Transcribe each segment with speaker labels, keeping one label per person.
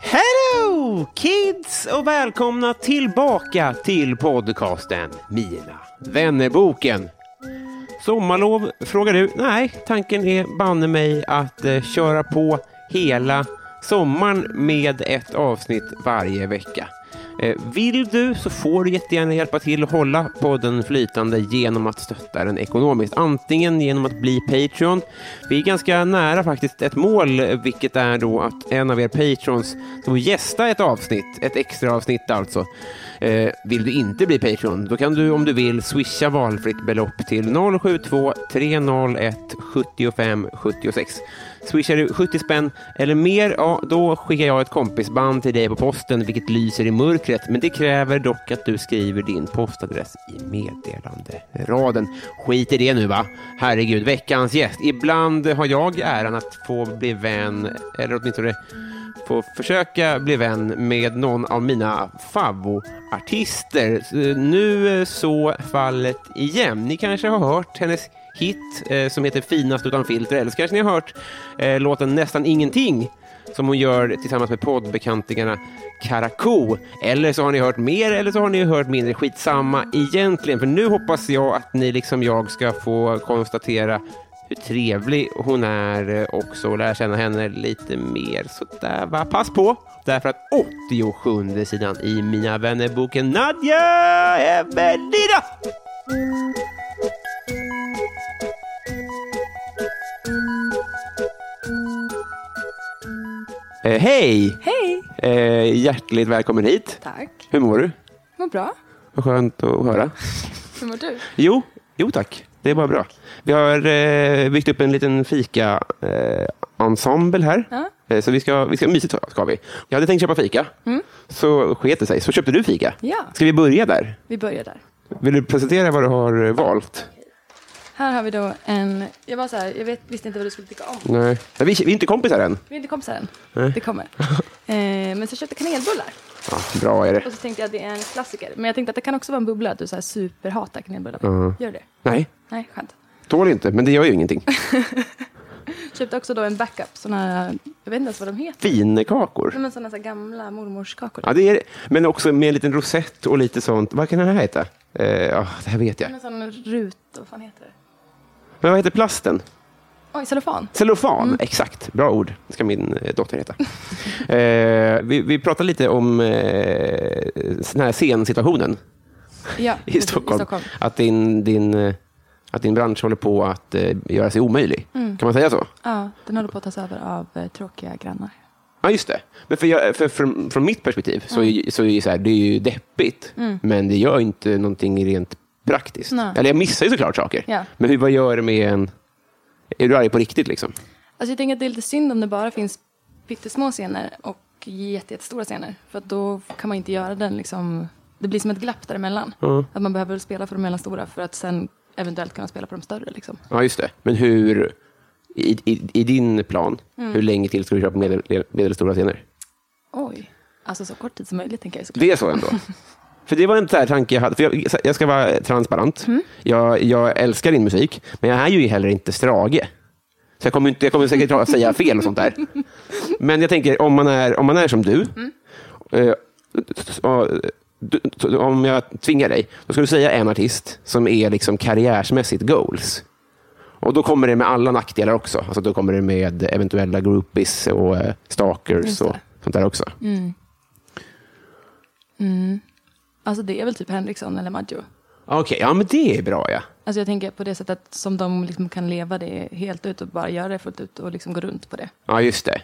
Speaker 1: Hello kids och välkomna tillbaka till podcasten Mina vännerboken. Sommarlov frågar du? Nej, tanken är banne mig att eh, köra på hela sommaren med ett avsnitt varje vecka. Eh, vill du så får du jättegärna hjälpa till att hålla podden flytande genom att stötta den ekonomiskt. Antingen genom att bli Patreon. Vi är ganska nära faktiskt ett mål, eh, vilket är då att en av er Patrons ska få gästa ett avsnitt, ett extra avsnitt alltså. Eh, vill du inte bli Patreon, då kan du om du vill swisha valfritt belopp till 072 301 75 76. Swishar du 70 spänn eller mer, ja, då skickar jag ett kompisband till dig på posten, vilket lyser i mörkret. Men det kräver dock att du skriver din postadress i meddelanderaden. Skit i det nu va? Herregud, veckans gäst. Ibland har jag äran att få bli vän, eller åtminstone få försöka bli vän med någon av mina favvoartister. Så Nu är så fallet igen. Ni kanske har hört hennes hit eh, som heter Finast utan filter, eller så kanske ni har hört eh, låten Nästan ingenting som hon gör tillsammans med poddbekantingarna Karakou. Eller så har ni hört mer eller så har ni hört mindre. Skitsamma egentligen, för nu hoppas jag att ni liksom jag ska få konstatera hur trevlig hon är eh, också och lära känna henne lite mer. Så där va, pass på! Därför att 87 sidan i Mina vännerboken Nadja Evelina! Eh, hej!
Speaker 2: Hej!
Speaker 1: Eh, hjärtligt välkommen hit.
Speaker 2: Tack.
Speaker 1: Hur mår du?
Speaker 2: Vad bra.
Speaker 1: Vad skönt att höra.
Speaker 2: Hur mår du?
Speaker 1: Jo, jo tack. Det är bara bra. Vi har eh, byggt upp en liten fika-ensemble här.
Speaker 2: Ja.
Speaker 1: Eh, så vi ska, vi ska mysigt ska vi. Jag hade tänkt köpa fika, så sket det sig. Så köpte du fika.
Speaker 2: Mm. Ja.
Speaker 1: Ska vi börja där?
Speaker 2: Vi börjar där.
Speaker 1: Vill du presentera vad du har eh, valt?
Speaker 2: Här har vi då en... Jag var så här, jag vet, visste inte vad du skulle tycka om.
Speaker 1: Nej. Vi, vi är inte kompisar än.
Speaker 2: Vi är inte kompisar än. Det kommer. eh, men så köpte jag kanelbullar.
Speaker 1: Ja, bra är det.
Speaker 2: Och så tänkte jag att det är en klassiker. Men jag tänkte att det kan också vara en bubbla, att du så här superhatar kanelbullar. Gör du det?
Speaker 1: Nej,
Speaker 2: Nej, skönt.
Speaker 1: tål inte, men det gör ju ingenting.
Speaker 2: Köpte också då en backup, såna här, jag vet inte ens vad de heter.
Speaker 1: Finekakor.
Speaker 2: Nej, men såna här gamla mormorskakor.
Speaker 1: Ja, det är det. Men också med en liten rosett och lite sånt. Vad kan den här heta? Eh, ja, det här vet jag.
Speaker 2: Med sån rut, vad fan heter det?
Speaker 1: Men vad heter plasten?
Speaker 2: Oj, cellofan.
Speaker 1: Cellofan,
Speaker 2: Mm.
Speaker 1: exakt. Bra ord. Det ska min eh, dotter heta. eh, vi, vi pratar lite om eh, den här scensituationen
Speaker 2: Ja,
Speaker 1: i Stockholm.
Speaker 2: Mm, I Stockholm.
Speaker 1: Att, din, din, eh, att din bransch håller på att eh, göra sig omöjlig.
Speaker 2: Mm.
Speaker 1: Kan man säga så?
Speaker 2: Ja, den håller på att tas över av eh, tråkiga grannar.
Speaker 1: Ja, just det. Men för jag, för, från, från mitt perspektiv så,
Speaker 2: Mm.
Speaker 1: är, så är det, så här, det är ju deppigt, men det gör inte någonting rent praktiskt.
Speaker 2: Nej.
Speaker 1: Eller jag missar ju såklart saker,
Speaker 2: Ja.
Speaker 1: men hur, vad gör det med en... Är du arg på riktigt? liksom?
Speaker 2: Alltså jag tänker att det är lite synd om det bara finns pyttesmå scener och jätte- jättestora scener. För att då kan man inte göra den liksom... Det blir som ett glapp däremellan. Att man behöver spela för de mellanstora för att sen eventuellt kunna spela på de större. Liksom.
Speaker 1: Ja, just det. Men hur, i, i, i din plan, hur länge till ska du köra på medel, medelstora scener?
Speaker 2: Oj. Alltså så kort tid som möjligt tänker jag såklart.
Speaker 1: Det är så ändå. för det var en så här tanke jag hade. För jag, jag ska vara transparent.
Speaker 2: Mm.
Speaker 1: Jag, jag älskar din musik, men jag är ju heller inte Strage. Så jag kommer, inte, jag kommer säkert att säga fel och sånt där.
Speaker 2: Mm.
Speaker 1: Men jag tänker, om man är, om man är som du, eh, så- du, t- om jag tvingar dig, då ska du säga en artist som är liksom karriärsmässigt goals. Och då kommer det med alla nackdelar också. Alltså då kommer det med eventuella groupies och eh, stalkers
Speaker 2: Just
Speaker 1: och
Speaker 2: det. Mm.
Speaker 1: sånt där också.
Speaker 2: Alltså det är väl typ Henriksson eller Maggio.
Speaker 1: Okej, ja men det är bra ja.
Speaker 2: Alltså jag tänker på det sättet som de liksom kan leva det helt ut och bara göra det fullt ut och liksom gå runt på det.
Speaker 1: Ja, just det.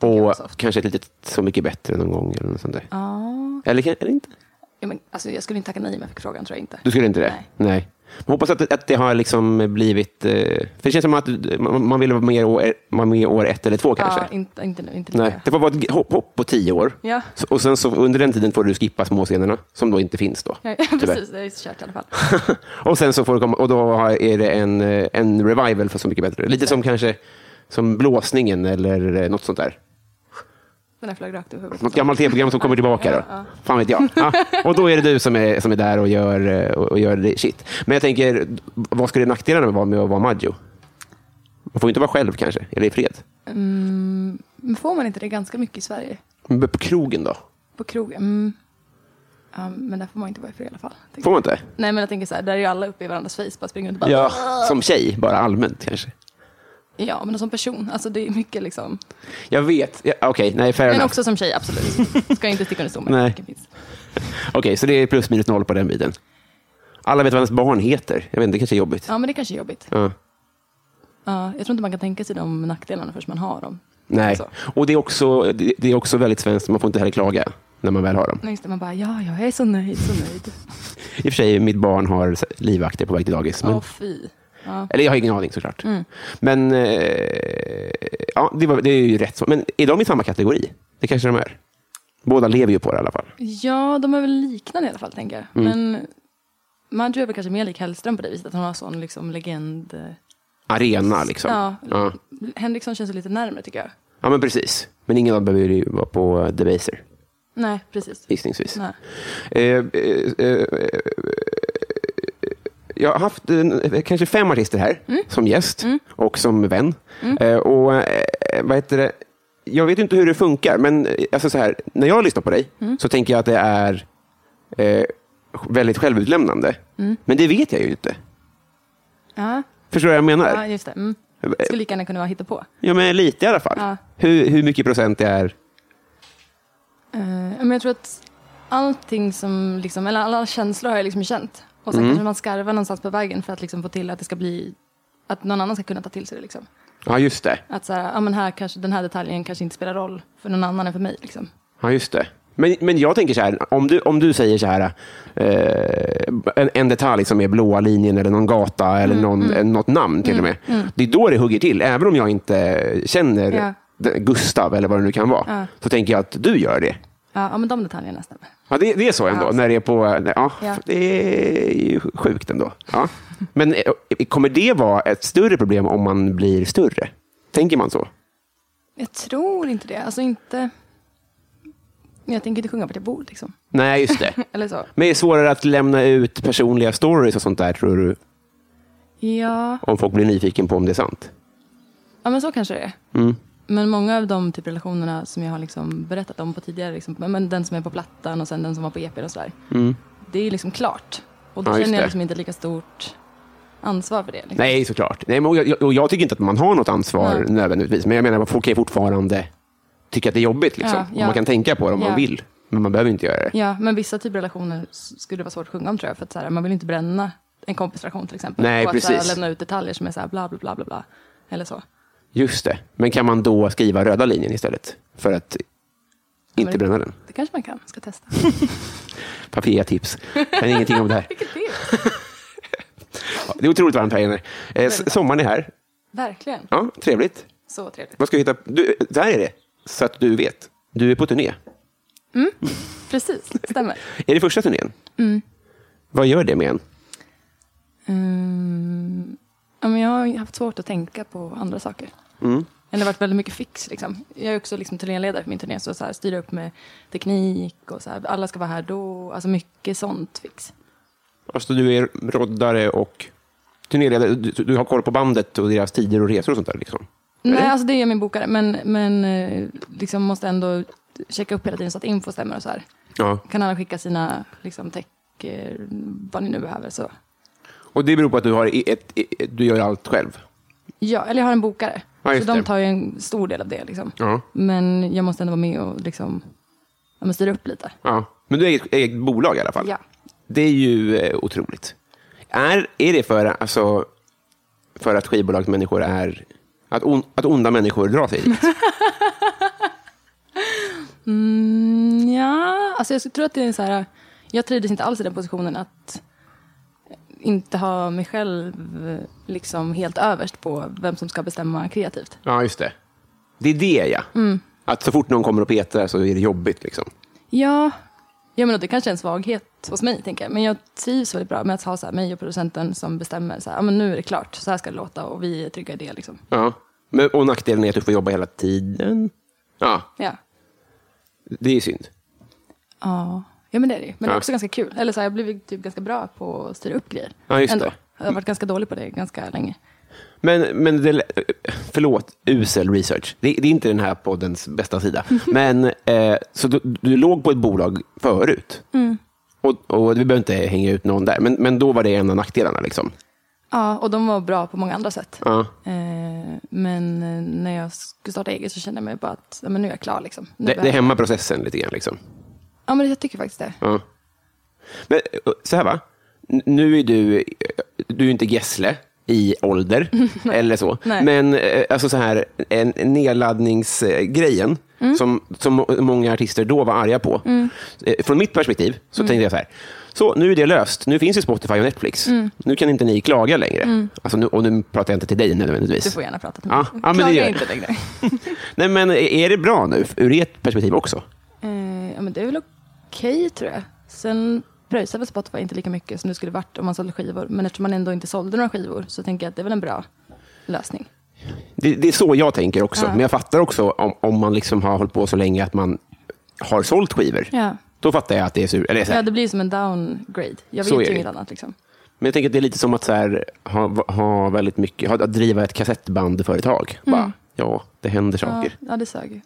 Speaker 2: kan
Speaker 1: Och
Speaker 2: vara soft.
Speaker 1: kanske ett litet Så mycket bättre någon gång eller något sånt där. Eller, kan- eller inte?
Speaker 2: Ja, men, alltså jag skulle inte tacka nej om jag fick frågan, tror jag inte.
Speaker 1: Du skulle inte det?
Speaker 2: Nej.
Speaker 1: Men hoppas att, att det har liksom blivit... eh, För det känns som att du- man, man vill vara med, år, vara med år ett eller två kanske.
Speaker 2: Ja, inte, inte nu. Inte
Speaker 1: Nej, det får vara ett hopp, hopp på tio år.
Speaker 2: Ja.
Speaker 1: Så- Och sen så under den tiden får du skippa småscenerna, som då inte finns då.
Speaker 2: Ja,
Speaker 1: tyvärr.
Speaker 2: precis, det är kört i alla fall.
Speaker 1: Och sen så får du komma, och då har- är det en, eh, en revival för Så mycket bättre. Lite som kanske som blåsningen eller eh, något sånt där.
Speaker 2: Den här flög rakt över huvudet.
Speaker 1: Något gammalt tv-program som kommer tillbaka. Då. Fan vet jag. Ja. Och då är det du som är, som är där och gör, eh, och och gör det shit. Men jag tänker, vad skulle nackdelarna vara med att vara Maggio? Man får ju inte vara själv kanske, eller i fred.
Speaker 2: Men får man inte det ganska mycket i Sverige?
Speaker 1: Men på krogen då?
Speaker 2: På krogen? Mm. Ja, men där får man inte vara i fred i alla fall. tänker
Speaker 1: Får man inte?
Speaker 2: jag. Nej, men jag tänker så här, där är ju alla uppe i varandras face, bara springer runt och bara...
Speaker 1: Ja. Som tjej, bara allmänt kanske.
Speaker 2: ja, men som person, alltså det är mycket liksom.
Speaker 1: Jag vet. Ja, Okej, nej, fair
Speaker 2: Men
Speaker 1: enough.
Speaker 2: också som tjej, absolut. Ska jag inte sticka under stol med.
Speaker 1: Nej.
Speaker 2: Det finns.
Speaker 1: Okej, så det är plus minus noll på den biten. Alla vet vad ens barn heter. Jag vet inte, det kanske är jobbigt.
Speaker 2: Ja, men det kanske är jobbigt.
Speaker 1: Ja.
Speaker 2: Ja, jag tror inte man kan tänka sig de nackdelarna förrän man har dem.
Speaker 1: Nej,
Speaker 2: Så.
Speaker 1: och det är, också, det det är också väldigt svenskt. Man får inte heller klaga när man väl har dem.
Speaker 2: Nej, just det, man bara, ja, jag är så nöjd, så nöjd.
Speaker 1: I och för sig, mitt barn har så- livvakter på väg till dagis.
Speaker 2: Åh, Mm.
Speaker 1: Men,
Speaker 2: fy.
Speaker 1: Eller jag har ingen aning såklart. Men eh, ja, det, var, det är ju rätt. Så. Men är de i samma kategori? Det kanske de är. Båda lever ju på det i alla fall.
Speaker 2: Ja, de är väl liknande i alla fall, tänker jag.
Speaker 1: Mm.
Speaker 2: Men Maggio är väl kanske mer lik Hellström på det viset, att hon har sån liksom legend...
Speaker 1: Arena liksom.
Speaker 2: Ja.
Speaker 1: ja.
Speaker 2: Henriksson känns ju lite närmare, tycker jag.
Speaker 1: Ja, men precis. Men ingen av dem behöver ju vara på eh, Debaser,
Speaker 2: Nej, precis.
Speaker 1: gissningsvis.
Speaker 2: Nej.
Speaker 1: Eh, eh, eh, eh, jag har haft eh, kanske fem artister här
Speaker 2: Mm.
Speaker 1: som gäst och som vän. Eh, och eh, vad heter det? Jag vet inte hur det funkar, men eh, alltså så här, när jag lyssnar på dig
Speaker 2: Mm.
Speaker 1: så tänker jag att det är eh, väldigt självutlämnande. Men det vet jag ju inte.
Speaker 2: Mm. Ja,
Speaker 1: Förstår du vad jag
Speaker 2: ja,
Speaker 1: menar?
Speaker 2: just det. Mm.
Speaker 1: Eh,
Speaker 2: Skulle lika gärna kunna vara på.
Speaker 1: Ja, men lite i alla fall.
Speaker 2: Ja.
Speaker 1: Hur, hur mycket procent det är...
Speaker 2: Eh, men jag tror att allting som, liksom, eller alla känslor har jag liksom känt. Och sen kanske man skarvar någonstans på vägen för att liksom få till att det ska bli, att någon annan ska kunna ta till sig det. Liksom.
Speaker 1: Ja, just det.
Speaker 2: Att så här, ja, men här kanske, den här detaljen kanske inte spelar roll för någon annan än för mig. Liksom.
Speaker 1: Ja, just det. Men, men jag tänker så här, om du, om du säger så här, eh, en, en detalj som är blåa linjen eller någon gata
Speaker 2: Mm,
Speaker 1: eller någon, eh, något namn till och med. Det är då det hugger till, även om jag inte känner
Speaker 2: Ja.
Speaker 1: den- Gustav eller vad det nu kan vara.
Speaker 2: Ja.
Speaker 1: Så tänker jag att du gör det.
Speaker 2: Ja, ja, men de detaljerna stämmer.
Speaker 1: Ja, det, det är så ändå,
Speaker 2: Ja.
Speaker 1: när det är på... Ja,
Speaker 2: Ja.
Speaker 1: Det är ju sjukt ändå. Ja. Men eh, kommer det vara ett större problem om man blir större? Tänker man så?
Speaker 2: Jag tror inte det. Alltså inte... Jag tänker inte sjunga vart jag bor liksom.
Speaker 1: Nej, just det.
Speaker 2: Eller så.
Speaker 1: Men det är svårare att lämna ut personliga stories och sånt där, tror du?
Speaker 2: Ja,
Speaker 1: Om folk blir nyfiken på om det är sant.
Speaker 2: ja men så kanske det är.
Speaker 1: Mm.
Speaker 2: Men många av de typ relationerna som jag har liksom berättat om på tidigare, liksom, men den som är på Plattan och sen den som var på EP och sådär. Det är liksom klart. Och då
Speaker 1: Mm. Ja, just
Speaker 2: känner
Speaker 1: det.
Speaker 2: jag liksom inte lika stort ansvar för det. Liksom.
Speaker 1: Nej, såklart. Nej, men jag, och jag tycker inte att man har något ansvar
Speaker 2: Nej.
Speaker 1: nödvändigtvis. Men jag menar, folk kan ju fortfarande tycka att det är jobbigt. Liksom.
Speaker 2: Ja,
Speaker 1: Och
Speaker 2: ja.
Speaker 1: Man kan tänka på det om
Speaker 2: Ja.
Speaker 1: man vill. Men man behöver inte göra det.
Speaker 2: Ja, men vissa typer av relationer s- skulle det vara svårt att sjunga om tror jag. För att så här, man vill inte bränna en kompisrelation till exempel.
Speaker 1: Nej,
Speaker 2: och att så här,
Speaker 1: precis.
Speaker 2: lämna ut detaljer som är så här bla bla bla bla bla. Eller så.
Speaker 1: Just det. Men kan man då skriva röda linjen istället? För att inte
Speaker 2: men-
Speaker 1: bränna den.
Speaker 2: Det kanske man kan, ska testa.
Speaker 1: Papiga tips. Jag kan ingenting om det här.
Speaker 2: Vilket tips!
Speaker 1: Det är otroligt varmt här inne. Eh, s- sommaren är här.
Speaker 2: Verkligen.
Speaker 1: Ja, trevligt.
Speaker 2: Så trevligt.
Speaker 1: Vad ska vi hitta? Du, där är det. Så att du vet. Du är på turné.
Speaker 2: Precis, stämmer.
Speaker 1: Är det första turnén? Vad gör det med en?
Speaker 2: Mm, ja, men jag har haft svårt att tänka på andra saker.
Speaker 1: Mm.
Speaker 2: Eller det har varit väldigt mycket fix. Liksom. Jag är också liksom turnéledare för min turné, så, så här, styra upp med teknik och så här, alla ska vara här då. Alltså mycket sånt fix.
Speaker 1: Alltså du är roddare och turnéledare. Du, du har koll på bandet och deras tider och resor och sånt där. Liksom.
Speaker 2: Nej, alltså det är min bokare, men, men eh, liksom måste ändå checka upp hela tiden så att info stämmer och så här.
Speaker 1: Ja.
Speaker 2: kan alla skicka sina liksom, tech, eh, vad ni nu behöver. Så.
Speaker 1: Och det beror på att du, har i- ett, i- du gör allt själv?
Speaker 2: Ja, eller jag har en bokare.
Speaker 1: Ja, just
Speaker 2: så de
Speaker 1: det.
Speaker 2: tar ju en stor del av det. Liksom.
Speaker 1: Ja.
Speaker 2: Men jag måste ändå vara med och liksom, ja, men styra upp lite.
Speaker 1: ja. Men du är eget, eget bolag i alla fall?
Speaker 2: Ja.
Speaker 1: Det är ju eh, otroligt. Är, är det för, alltså, för att skivbolagsmänniskor är... Att, on, att onda människor drar sig dit?
Speaker 2: Mm, ja, alltså jag tror att det är så här... Jag trivdes inte alls i den positionen att inte ha mig själv eh, liksom helt överst på vem som ska bestämma kreativt.
Speaker 1: ja, just det. Det är det, ja. Att så fort någon kommer och petar så är det jobbigt. Liksom.
Speaker 2: Ja, ja men det kanske är en svaghet hos mig, tänker jag. Men jag trivs väldigt bra med att ha så här, mig och producenten som bestämmer. Så här, ja, men nu är det klart, så här ska det låta och vi är trygga i det. Liksom.
Speaker 1: Ja. Men, och nackdelen är att du får jobba hela tiden. Ja,
Speaker 2: Ja.
Speaker 1: det är synd.
Speaker 2: Ja. ja, men det är det ju. Men det
Speaker 1: Ja.
Speaker 2: är också ganska kul. Eller så här, jag har blivit typ ganska bra på att styra upp grejer.
Speaker 1: Ja, just
Speaker 2: Ändå.
Speaker 1: det.
Speaker 2: Jag har varit ganska dålig på det ganska länge.
Speaker 1: Men, men det, förlåt, usel research. Det, det är inte den här poddens bästa sida. Men, eh, så du, du låg på ett bolag förut. Och, och vi behöver inte hänga ut någon där. Men, men då var det en av nackdelarna. Liksom.
Speaker 2: Ja, och de var bra på många andra sätt.
Speaker 1: Ja.
Speaker 2: Eh, men eh, när jag skulle starta eget så kände jag mig bara att ja, men nu är jag klar. Liksom. Nu
Speaker 1: Det, det
Speaker 2: behöver-
Speaker 1: hämmar processen lite grann. Liksom.
Speaker 2: Ja, men jag tycker faktiskt det.
Speaker 1: Ja. Men, eh, så här va, N- nu är du, eh, du är inte Gessle i ålder eller så.
Speaker 2: Nej.
Speaker 1: Men eh, alltså så här, en en nedladdningsgrejen
Speaker 2: Mm.
Speaker 1: som, som må- många artister då var arga på. Eh, Från mitt perspektiv så
Speaker 2: Mm.
Speaker 1: tänkte jag så här, så nu är det löst, nu finns ju Spotify och Netflix.
Speaker 2: Mm.
Speaker 1: Nu kan inte ni klaga längre. Alltså nu, och nu pratar jag inte till dig nödvändigtvis.
Speaker 2: Du Mm. får gärna prata till mig.
Speaker 1: Ja, ja, men det
Speaker 2: Klaga
Speaker 1: gör jag.
Speaker 2: inte längre.
Speaker 1: Nej, men eh, är det bra nu ur ert perspektiv också?
Speaker 2: Eh, ja, men det är väl okej, tror jag. Sen pröjsade väl Spotify inte lika mycket som det skulle varit om man sålde skivor. Men eftersom man ändå inte sålde några skivor så tänker jag att det är väl en bra lösning.
Speaker 1: Det, det är så jag tänker också.
Speaker 2: Ja.
Speaker 1: Men jag fattar också om, om man liksom har hållit på så länge att man har sålt skivor.
Speaker 2: Ja.
Speaker 1: Då fattar jag att det är sur. Eller så här.
Speaker 2: Ja, det blir ju som en downgrade. Jag
Speaker 1: Så är
Speaker 2: vet
Speaker 1: det.
Speaker 2: ju inget annat. Liksom.
Speaker 1: Men jag tänker att det är lite som att så här, ha, ha väldigt mycket, ha, att driva ett kassettbandföretag. Bara, ja, det händer
Speaker 2: Mm. Ja,
Speaker 1: saker.
Speaker 2: ja, det sög ju.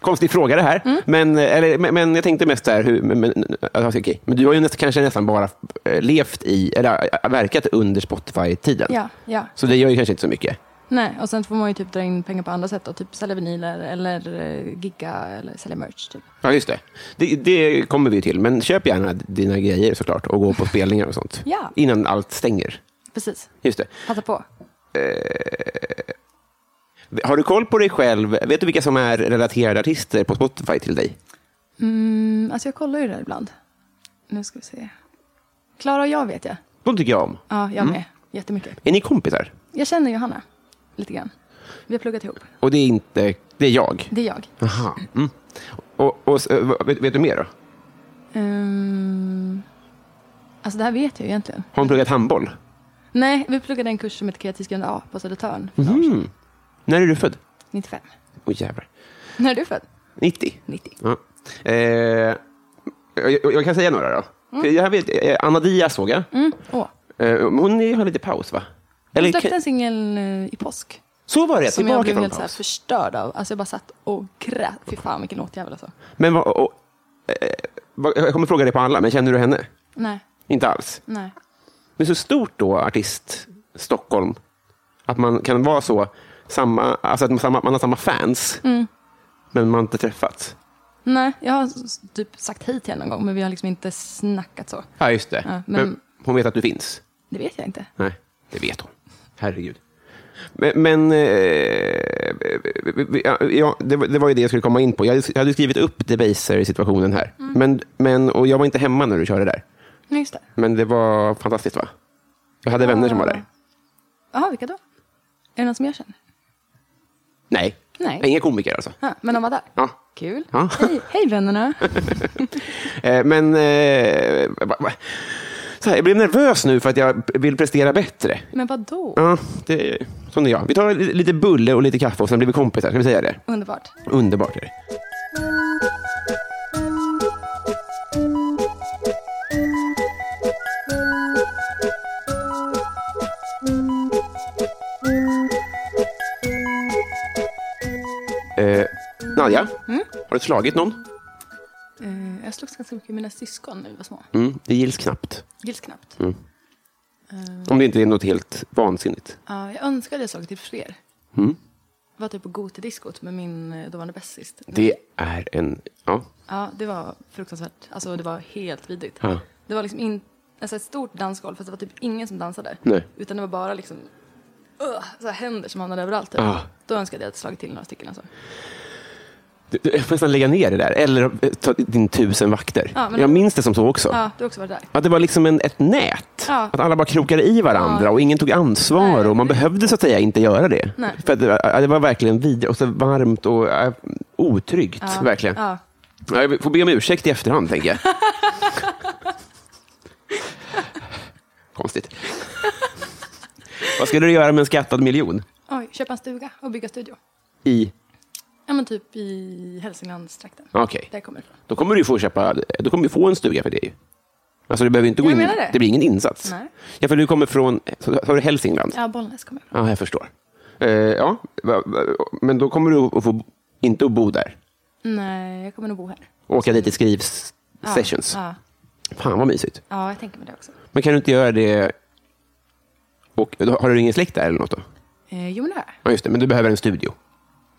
Speaker 1: Konstig fråga det här.
Speaker 2: Mm.
Speaker 1: Men, eller, men, men jag tänkte mest så här, hur, men, men, alltså, okej. men du har ju nästan, kanske nästan bara eh, levt i, eller äh, verkat under Spotify-tiden.
Speaker 2: Ja, ja.
Speaker 1: Så det gör ju kanske inte så mycket.
Speaker 2: Nej, och sen får man ju typ dra in pengar på andra sätt. Då, typ sälja vinyler eller eh, gigga eller sälja merch. Typ.
Speaker 1: Ja, just det. det. Det kommer vi till. Men köp gärna dina grejer såklart och gå på spelningar och sånt.
Speaker 2: Ja.
Speaker 1: Innan allt stänger.
Speaker 2: Precis,
Speaker 1: Just det.
Speaker 2: passa på.
Speaker 1: Har du koll på dig själv? Vet du vilka som är relaterade artister på Spotify till dig?
Speaker 2: Mm, alltså jag kollar ju det där ibland. Nu ska vi se. Klara och jag vet jag.
Speaker 1: De tycker jag om.
Speaker 2: Ja, jag med. Jättemycket.
Speaker 1: Är ni kompisar?
Speaker 2: Jag känner Johanna lite grann. Vi har pluggat ihop.
Speaker 1: Och det är inte... Det är jag.
Speaker 2: Det är jag.
Speaker 1: Aha. Mm. Och, och, s- eh, vet, vet du mer då?
Speaker 2: Ehm, alltså det här vet jag ju egentligen.
Speaker 1: Har hon pluggat handboll?
Speaker 2: Nej, vi pluggade en kurs som heter kreativt grund A på Södertörn för några år sedan.
Speaker 1: Mm. När är du född?
Speaker 2: 95.
Speaker 1: Åh jävlar.
Speaker 2: När är du född?
Speaker 1: 90?
Speaker 2: 90.
Speaker 1: Ja. Eh, jag, jag kan säga några då.
Speaker 2: Mm.
Speaker 1: För jag vet, eh, Anna Diaz såg jag.
Speaker 2: Åh.
Speaker 1: Eh, hon är- har lite paus va?
Speaker 2: Jag
Speaker 1: kan-
Speaker 2: släppte en singel eh, i påsk.
Speaker 1: Så var det,
Speaker 2: Som jag
Speaker 1: tillbaka
Speaker 2: blev
Speaker 1: från
Speaker 2: helt så här
Speaker 1: paus.
Speaker 2: förstörd av. Alltså jag bara satt och grät. Fy fan vilken låtjävel alltså.
Speaker 1: Men vad, och, eh, vad, jag kommer fråga dig på alla, men känner du henne?
Speaker 2: Nej,
Speaker 1: Inte alls.
Speaker 2: nej.
Speaker 1: Men så stort då, artist Stockholm, att man kan vara så, samma, alltså att man, samma, man har samma fans,
Speaker 2: Mm.
Speaker 1: men man har inte träffats.
Speaker 2: Nej, jag har s- typ sagt hej till henne någon gång men vi har liksom inte snackat så.
Speaker 1: Ja, just det.
Speaker 2: Ja,
Speaker 1: men...
Speaker 2: men-
Speaker 1: hon vet att du finns?
Speaker 2: Det vet jag inte.
Speaker 1: Nej, det vet hon. Herregud. Men, men eh, ja, ja, det, var- det var ju det jag skulle komma in på. Jag hade- jag hade skrivit upp Debaser-situationen här.
Speaker 2: Mm.
Speaker 1: Men, men, och jag var inte hemma när du körde där.
Speaker 2: Nej, just det.
Speaker 1: Men det var fantastiskt va? Jag hade vänner som var där.
Speaker 2: Jaha, vilka då? Är det någon som jag känner?
Speaker 1: Nej.
Speaker 2: Nej.
Speaker 1: Inga komiker alltså.
Speaker 2: Ja, men de var där?
Speaker 1: Ja.
Speaker 2: Kul.
Speaker 1: Ja.
Speaker 2: Hej, hej vännerna.
Speaker 1: Eh, Men... Eh, va- va- så här, jag blev nervös nu för att jag vill prestera bättre.
Speaker 2: Men vad då?
Speaker 1: Ja, det, sån är jag. Vi tar li- lite bulle och lite kaffe och sen blir vi kompisar. Ska vi säga det?
Speaker 2: Underbart.
Speaker 1: Underbart är det.
Speaker 2: Mm?
Speaker 1: Eh, Nadja, har du slagit någon?
Speaker 2: Jag slogs ganska mycket med mina syskon när vi var små.
Speaker 1: Mm, det gills knappt.
Speaker 2: Gills knappt.
Speaker 1: Mm. Om det inte är något helt vansinnigt.
Speaker 2: Ja, jag önskar att jag slagit till fler.
Speaker 1: Mm.
Speaker 2: Jag var typ på Gotediskot med min eh, dåvarande bästis.
Speaker 1: Det är en... Ja.
Speaker 2: Ja, det var fruktansvärt. Alltså det var helt vidrigt.
Speaker 1: ja.
Speaker 2: Det var liksom in, alltså ett stort dansgolv fast det var typ ingen som dansade.
Speaker 1: Nej.
Speaker 2: Utan det var bara liksom ugh, så här händer som hamnade överallt. Typ.
Speaker 1: Ja.
Speaker 2: Då önskade jag att jag slagit till några stycken. Alltså.
Speaker 1: Du, du, jag får nästan lägga ner det där. Eller eh, ta din tusen vakter.
Speaker 2: Ja, men-
Speaker 1: Jag minns det som så också.
Speaker 2: Ja, du har också varit där.
Speaker 1: Att det var liksom en, ett nät.
Speaker 2: Ja.
Speaker 1: Att alla bara krokade i varandra
Speaker 2: Ja.
Speaker 1: och ingen tog ansvar
Speaker 2: Nej.
Speaker 1: och man behövde så att säga inte göra det.
Speaker 2: Nej.
Speaker 1: För att det, var, det var verkligen vidrigt och så varmt och äh, otryggt. Verkligen.
Speaker 2: Ja.
Speaker 1: Ja, Jag får be om ursäkt i efterhand, tänker jag. Konstigt. Vad skulle du göra med en skattad miljon?
Speaker 2: Oj, köpa en stuga och bygga studio.
Speaker 1: I...
Speaker 2: Ja, men typ i Hälsinglandstrakten.
Speaker 1: Okej.
Speaker 2: Där jag kommer ifrån.
Speaker 1: Då kommer du ju få köpa, då kommer du få en stuga för det ju. Alltså du behöver inte gå
Speaker 2: Jag
Speaker 1: in,
Speaker 2: menar det.
Speaker 1: det blir ingen insats.
Speaker 2: Nej.
Speaker 1: Ja, för du kommer från, sa sa du Hälsingland?
Speaker 2: Ja, Bollnäs kommer jag ifrån.
Speaker 1: Ja, jag förstår. Eh, ja, va- va- men då kommer du att få, inte att bo där.
Speaker 2: Nej, jag kommer nog bo här.
Speaker 1: Åka dit i skrivs sessions.
Speaker 2: Ja,
Speaker 1: Fan vad mysigt.
Speaker 2: ja, jag tänker mig det också.
Speaker 1: Men kan du inte göra det... Och, då- har du ingen släkt där eller något då?
Speaker 2: Eh, jo, men det har jag.
Speaker 1: Ja, just det. Men du behöver en studio.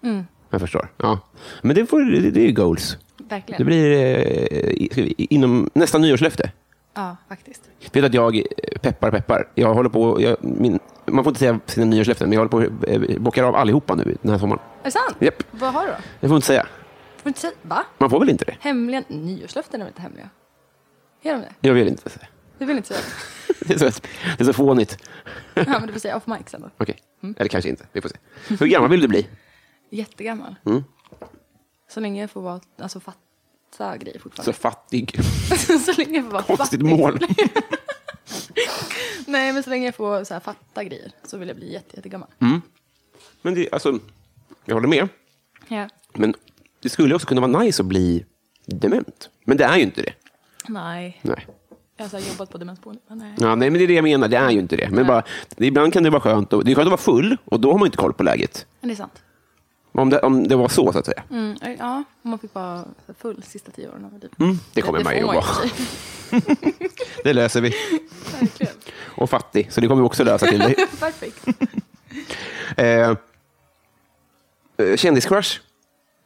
Speaker 2: Mm.
Speaker 1: Jag förstår. Ja. Men det, får, det, det är ju goals.
Speaker 2: Verkligen.
Speaker 1: Det blir eh, i- ska vi- inom nästa nyårslöfte.
Speaker 2: Ja, faktiskt.
Speaker 1: Vet du att jag eh, peppar, peppar. Jag håller på... Jag, min, man får inte säga sina nyårslöften, men jag håller på eh, bockar av allihopa nu den här sommaren.
Speaker 2: Är det sant?
Speaker 1: Japp.
Speaker 2: Vad har du då?
Speaker 1: Jag får inte säga.
Speaker 2: Får du inte säga? Va?
Speaker 1: Man får väl inte det?
Speaker 2: Hemliga? Nyårslöften är väl inte hemliga? Är de det?
Speaker 1: Jag vill inte säga.
Speaker 2: Du vill inte säga
Speaker 1: Det är så, det är så fånigt.
Speaker 2: det? Ja, men du får säga off mic sen då.
Speaker 1: Okej. Eller kanske inte. Vi får se. Hur gammal vill du bli?
Speaker 2: Jättegammal.
Speaker 1: Mm.
Speaker 2: Så länge jag får vara, alltså fatta grejer
Speaker 1: Så
Speaker 2: fortfarande.
Speaker 1: Alltså, fattig.
Speaker 2: Så, länge jag får vara
Speaker 1: Konstigt
Speaker 2: fattig.
Speaker 1: mål.
Speaker 2: Nej, men så länge jag får så här, fatta grejer så vill jag bli jätte, jättegammal.
Speaker 1: Mm. Men det, alltså, jag håller med.
Speaker 2: Ja.
Speaker 1: Men det skulle också kunna vara nice att bli dement. Men det är ju inte det.
Speaker 2: Nej,
Speaker 1: Nej.
Speaker 2: jag har så här, jobbat på demensboende. Men nej.
Speaker 1: Ja, nej, men det är det jag menar. Det är ju inte det. Men bara, ibland kan det vara skönt. Att, det är skönt att vara full och då har man inte koll på läget.
Speaker 2: Men det är sant.
Speaker 1: Om det, om det var så, så att säga.
Speaker 2: Mm, ja, man fick vara full sista tio åren av mitt liv.
Speaker 1: Mm, det kommer man ju
Speaker 2: får
Speaker 1: att vara.
Speaker 2: i och för sig.
Speaker 1: Det löser vi.
Speaker 2: Verkligen.
Speaker 1: Och fattig, så det kommer vi också lösa till dig.
Speaker 2: Perfekt.
Speaker 1: Eh, eh, Kändiscrush?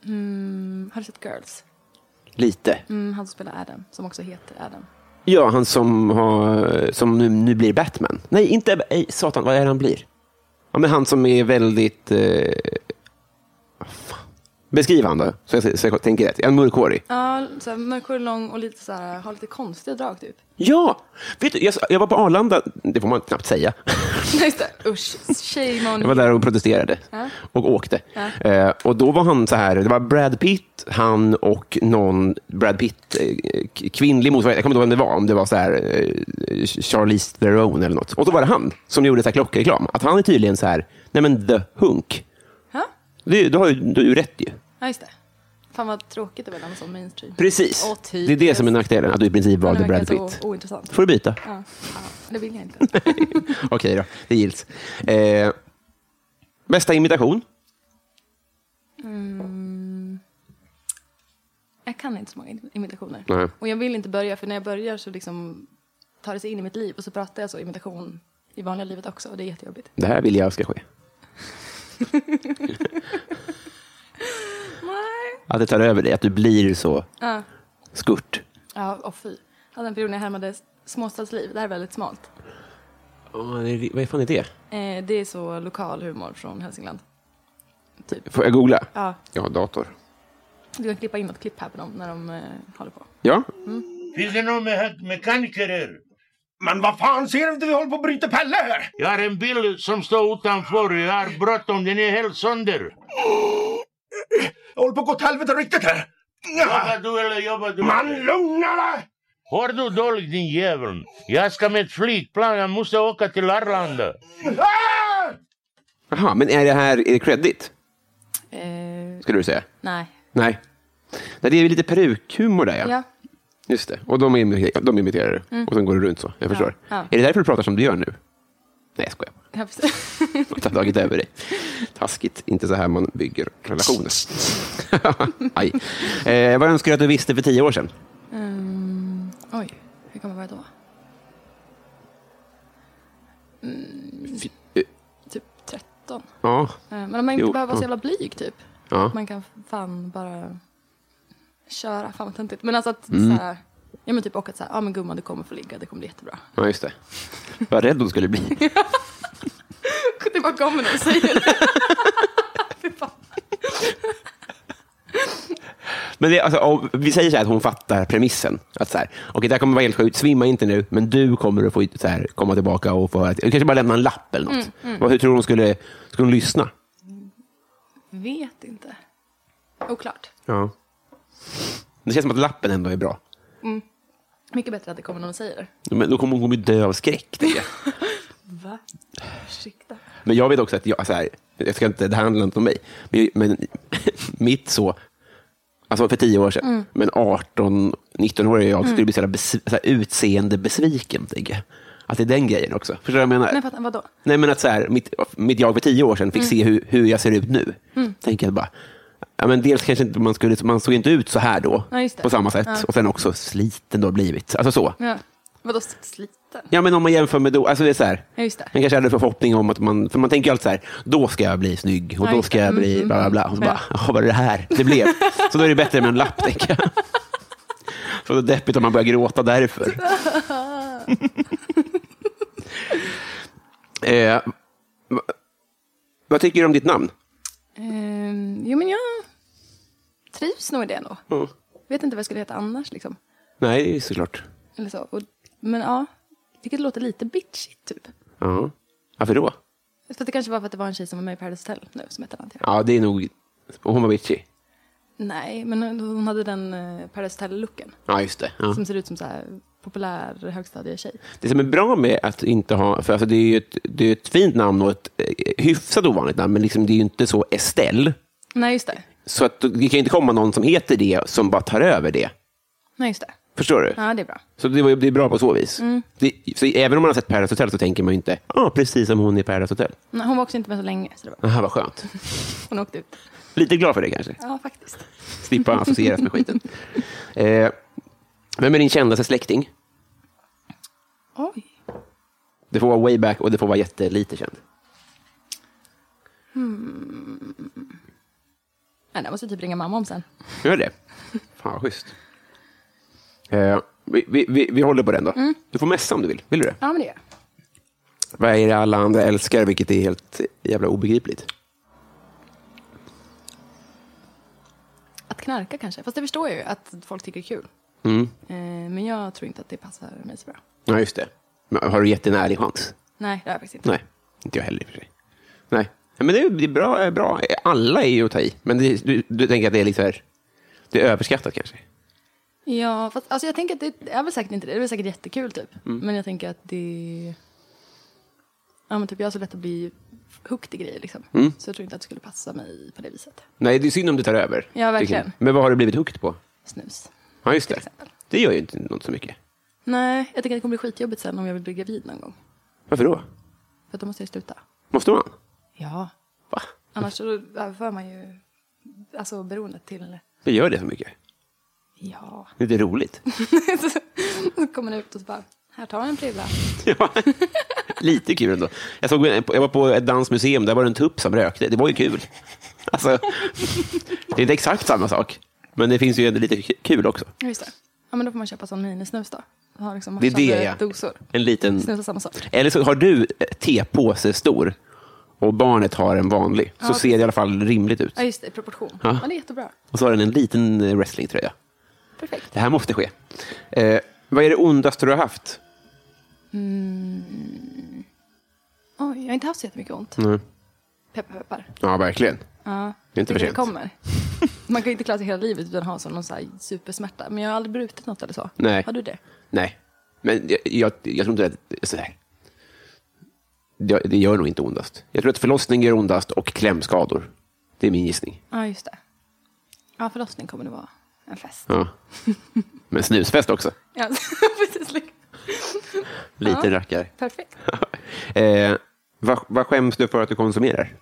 Speaker 2: Mm, Har du sett Girls?
Speaker 1: Lite.
Speaker 2: Mm, han som spelar Adam, som också heter Adam.
Speaker 1: Ja, han som, har, som nu, nu blir Batman. Nej, inte ej, Satan, vad är det han blir? Ja, men han som är väldigt... Eh, vad fan. Beskriv han då, så jag, så jag tänker rätt. En mörkhårig.
Speaker 2: Ja, så här mörkhårig, lång och lite så här, har lite konstiga drag typ.
Speaker 1: Ja! Vet du, jag, jag var på Arlanda, det får man knappt säga.
Speaker 2: Nej, just det. Usch, shame on
Speaker 1: Jag var
Speaker 2: you.
Speaker 1: där och protesterade
Speaker 2: Ja.
Speaker 1: och åkte. Eh, och då var han så här, det var Brad Pitt, han och någon Brad Pitt, eh, k- kvinnlig motsvarighet, jag kommer inte ihåg vem det var, om det var så här eh, Charlize Theron eller något. Och då var det han som gjorde så här klockreklam, att han är tydligen så här, nej men the hunk.
Speaker 2: Ja,
Speaker 1: Du, du har ju du har ju rätt ju.
Speaker 2: ja, just det. Fan vad tråkigt det var en sån mainstream.
Speaker 1: Precis.
Speaker 2: Åh, typiskt.
Speaker 1: det är det som är nackdelen, att du i princip
Speaker 2: Han
Speaker 1: valde
Speaker 2: verkar
Speaker 1: Brad Pitt.
Speaker 2: så ointressant.
Speaker 1: får du byta.
Speaker 2: Ja, ja, det vill jag inte.
Speaker 1: Okej då, det gills. Eh, bästa imitation?
Speaker 2: Jag kan inte så många im- imitationer.
Speaker 1: Nej.
Speaker 2: Och jag vill inte börja, för när jag börjar så liksom tar det sig in i mitt liv och så pratar jag så imitation i vanliga livet också och det är jättejobbigt.
Speaker 1: Det här vill jag ska ske.
Speaker 2: Nej.
Speaker 1: Att det tar över dig, att du blir så skurt.
Speaker 2: Ja, och fy. Jag hade en period när jag härmade s- småstadsliv, det här är väldigt smalt.
Speaker 1: Ja, det- Vad fan är det?
Speaker 2: Eh, det är så lokal humor från Hälsingland.
Speaker 1: Får jag googla?
Speaker 2: Ja,
Speaker 1: Jag har dator.
Speaker 2: du kan klippa in något klipp här på dem när de eh, håller på.
Speaker 1: Ja,
Speaker 3: Finns det någon med mekaniker här?
Speaker 4: Men vad fan, ser du inte vi håller på att bryta Pelle här?
Speaker 3: Jag har en bil som står utanför. Jag har bråttom, den är helt sönder.
Speaker 4: Jag håller på att gå åt helvete riktigt här.
Speaker 3: Jobbar du eller jobbar du?
Speaker 4: Man, lugna dig!
Speaker 3: Hör du dåligt din jävel? Jag ska med flygplan, jag måste åka till Arlanda.
Speaker 4: Ah!
Speaker 1: Aha, men är det här är det credit?
Speaker 2: Eh,
Speaker 1: Skulle du säga?
Speaker 2: nej.
Speaker 1: Nej. Nej, det är ju lite perukhumor där ja.
Speaker 2: Ja. Mm.
Speaker 1: Just det. Och de, imiter- de imiterar det. Och sen går det runt så. Jag förstår.
Speaker 2: ja.
Speaker 1: Är det därför du pratar som du gör nu? Nej, jag skojar.
Speaker 2: Ja, precis.
Speaker 1: Jag har tagit över dig. Taskigt. Inte så här man bygger relationer. Aj. Eh, vad önskar du att du visste för tio år sedan?
Speaker 2: Ehm, oj, hur kan man börja då?
Speaker 1: eh.
Speaker 2: Mm, typ 13.
Speaker 1: Ja,
Speaker 2: Eh, Men om man inte
Speaker 1: Jo,
Speaker 2: behöver vara så
Speaker 1: ja.
Speaker 2: jävla blyg typ.
Speaker 1: Ja.
Speaker 2: Man kan fan bara köra. Fan vad töntigt. Men alltså att
Speaker 1: Mm.
Speaker 2: såhär. Ja men typ och att såhär, ja men gumman du kommer få ligga, det kommer bli jättebra.
Speaker 1: ja just det. Vad rädd hon skulle bli.
Speaker 2: Det bara kommer när du säger det. Fy fan.
Speaker 1: Men det, alltså, om, vi säger så här att hon fattar premissen. Att så här, okej, det här kommer vara helt sjukt, svimma inte nu, men du kommer att få så här, komma tillbaka och få höra. Du kanske bara lämna en lapp eller något. Vad- Hur tror du hon skulle, skulle hon lyssna?
Speaker 2: Vet inte. Oklart.
Speaker 1: Ja. Det känns som att lappen ändå är bra.
Speaker 2: Mycket bättre att det kommer när någon säger det.
Speaker 1: Men då kommer hon kommer dö av skräck. tänker jag.
Speaker 2: Va? Ursäkta.
Speaker 1: Men jag vet också att jag, så här, jag ska inte, det här handlar inte om mig, men, men mitt så, alltså för tio år sedan,
Speaker 2: Mm.
Speaker 1: men 18, 19-åriga jag skulle bli så här, bes, så här utseende besviken, tänker jag. Att det är den grejen också. Förstår du vad jag menar?
Speaker 2: Men Mm. fattar, vadå?
Speaker 1: Nej, men att så här, mitt, mitt jag för tio år sedan fick se hur, hur jag ser ut nu.
Speaker 2: Mm.
Speaker 1: Tänker jag bara, ja, men dels kanske inte, man, skulle, man såg inte ut så här då,
Speaker 2: Ja, just det.
Speaker 1: på samma sätt. Och sen också sliten då blivit. Alltså så.
Speaker 2: Ja. Vadå sliten?
Speaker 1: Ja, men om man jämför med då, alltså det är så här,
Speaker 2: Ja, just det.
Speaker 1: man kanske hade förhoppning om att man, för man tänker ju alltid så här, då ska jag bli snygg och
Speaker 2: Ja,
Speaker 1: då
Speaker 2: just
Speaker 1: ska
Speaker 2: det.
Speaker 1: jag
Speaker 2: Mm,
Speaker 1: bli
Speaker 2: mm,
Speaker 1: bla bla bla. Och så
Speaker 2: Ja.
Speaker 1: bara, jaha, vad är det här det blev? Så då är det bättre med en lapp, tänker jag. Så det är deppigt om man börjar gråta därför. eh, va- vad tycker du om ditt namn?
Speaker 2: Ehm, jo men jag trivs nog i det ändå.
Speaker 1: Mm.
Speaker 2: Vet inte vad jag skulle heta annars liksom.
Speaker 1: Nej, det är såklart.
Speaker 2: Eller så. Och, men ja, vilket låter lite bitchigt typ.
Speaker 1: Ja. Varför då?
Speaker 2: För det kanske var för att det var en tjej som var med i Paradise Hotel nu som hette Antia.
Speaker 1: Ja, det är nog... Hon var bitchig.
Speaker 2: Nej, men hon- hon hade den eh, Paradise Hotel-looken.
Speaker 1: Ja, just det. Ja.
Speaker 2: Som ser ut som så här populär högstadietjej.
Speaker 1: Det som är bra med att inte ha, för alltså det är ju ett, det är ett fint namn och ett eh, hyfsat ovanligt namn, men liksom det är ju inte så Estelle.
Speaker 2: Nej, just det.
Speaker 1: Så att det kan ju inte komma någon som heter det som bara tar över det.
Speaker 2: Nej, just det.
Speaker 1: Förstår du?
Speaker 2: Ja, det är bra.
Speaker 1: Så det, var ju- det är bra på så vis. Det, så även om man har sett Paradise Hotel så tänker man ju inte, ja, ah, precis som hon i Paradise Hotel.
Speaker 2: Nej, hon var också inte med så länge, så det var,
Speaker 1: Aha, vad skönt.
Speaker 2: hon åkte ut.
Speaker 1: Lite glad för det kanske.
Speaker 2: Ja, faktiskt.
Speaker 1: Slippa associeras med skiten. Eh, vem är din kändaste släkting?
Speaker 2: Oj.
Speaker 1: Det får vara way back och det får vara jättelite känd.
Speaker 2: Nej, det måste jag typ ringa mamma om sen.
Speaker 1: Gör det? Fan, vad schysst. Eh, vi, vi, vi, vi håller på den då. Du får messa om du vill. Vill du det?
Speaker 2: Ja, men det gör jag.
Speaker 1: Mm. Vad är det alla andra älskar, vilket är helt jävla obegripligt?
Speaker 2: Att knarka kanske. Fast det förstår jag ju att folk tycker det är kul. Eh, men jag tror inte att det passar mig så bra.
Speaker 1: Ja, just det. Men har du gett en ärlig chans?
Speaker 2: Nej, det har jag faktiskt inte.
Speaker 1: Nej, inte jag heller i och för sig. Nej, Ja, men det är, det är bra, är bra. Alla är ju att ta i, men det, du, du tänker att det är lite så här, det är överskattat kanske?
Speaker 2: Ja, fast alltså jag tänker att det är väl säkert inte det. Det är väl säkert jättekul typ. Men jag tänker att det... Ja men typ jag har så lätt att bli hooked i grejer liksom. Så jag tror inte att det skulle passa mig på det viset.
Speaker 1: Nej, det är synd om du tar över.
Speaker 2: Ja, verkligen.
Speaker 1: tycker jag. Men vad har du blivit hooked på?
Speaker 2: Snus.
Speaker 1: Ja, just det.
Speaker 2: exempel.
Speaker 1: Det gör ju inte något så mycket.
Speaker 2: Nej, jag tänker att det kommer bli skitjobbigt sen om jag vill bli gravid någon gång.
Speaker 1: Varför då?
Speaker 2: För då måste jag ju sluta.
Speaker 1: Måste man?
Speaker 2: Ja.
Speaker 1: Va?
Speaker 2: Annars så överför man ju alltså beroendet till...
Speaker 1: Det gör det så mycket?
Speaker 2: Ja.
Speaker 1: Det är inte roligt.
Speaker 2: Så kommer det ut och så bara, här tar jag en prilla.
Speaker 1: Ja, lite kul ändå. Jag, såg, jag var på ett dansmuseum, där var det en tupp som rökte. Det var ju kul. Alltså, det är inte exakt samma sak, men det finns ju ändå lite kul också.
Speaker 2: Ja, just det. Ja men då får man köpa sån minisnus då. Ha liksom
Speaker 1: Det är det,
Speaker 2: matchande
Speaker 1: ja.
Speaker 2: dosor.
Speaker 1: En liten...
Speaker 2: Snusa samma sak.
Speaker 1: Eller så har du eh, tepåse stor och barnet har en vanlig, så
Speaker 2: Ja,
Speaker 1: ser det i alla fall rimligt ut.
Speaker 2: Ja just det, i proportion.
Speaker 1: Ja.
Speaker 2: Ja. det är jättebra.
Speaker 1: Och så har den en liten eh, wrestlingtröja.
Speaker 2: Perfekt.
Speaker 1: Det här måste ske. Eh, vad är det ondaste du har haft?
Speaker 2: Oj, jag har inte haft så jättemycket ont.
Speaker 1: Mm.
Speaker 2: Peppar, peppar.
Speaker 1: Ja, verkligen.
Speaker 2: Ja.
Speaker 1: Det är inte för
Speaker 2: det
Speaker 1: sent.
Speaker 2: kommer. Man kan ju inte klara sig hela livet utan att ha sån någon så här supersmärta. Men jag har aldrig brutit något eller så.
Speaker 1: Nej.
Speaker 2: Har du det?
Speaker 1: Nej, men jag, jag, jag tror inte att det är sådär. Det, det gör nog inte ondast. Jag tror att förlossning gör ondast och klämskador. Det är min gissning.
Speaker 2: Ja, just det. Ja, förlossning kommer det vara en fest.
Speaker 1: Ja. Men snusfest också.
Speaker 2: Ja, precis. Lika-
Speaker 1: Lite rackare.
Speaker 2: Perfekt.
Speaker 1: eh, vad, vad skäms du för att du konsumerar?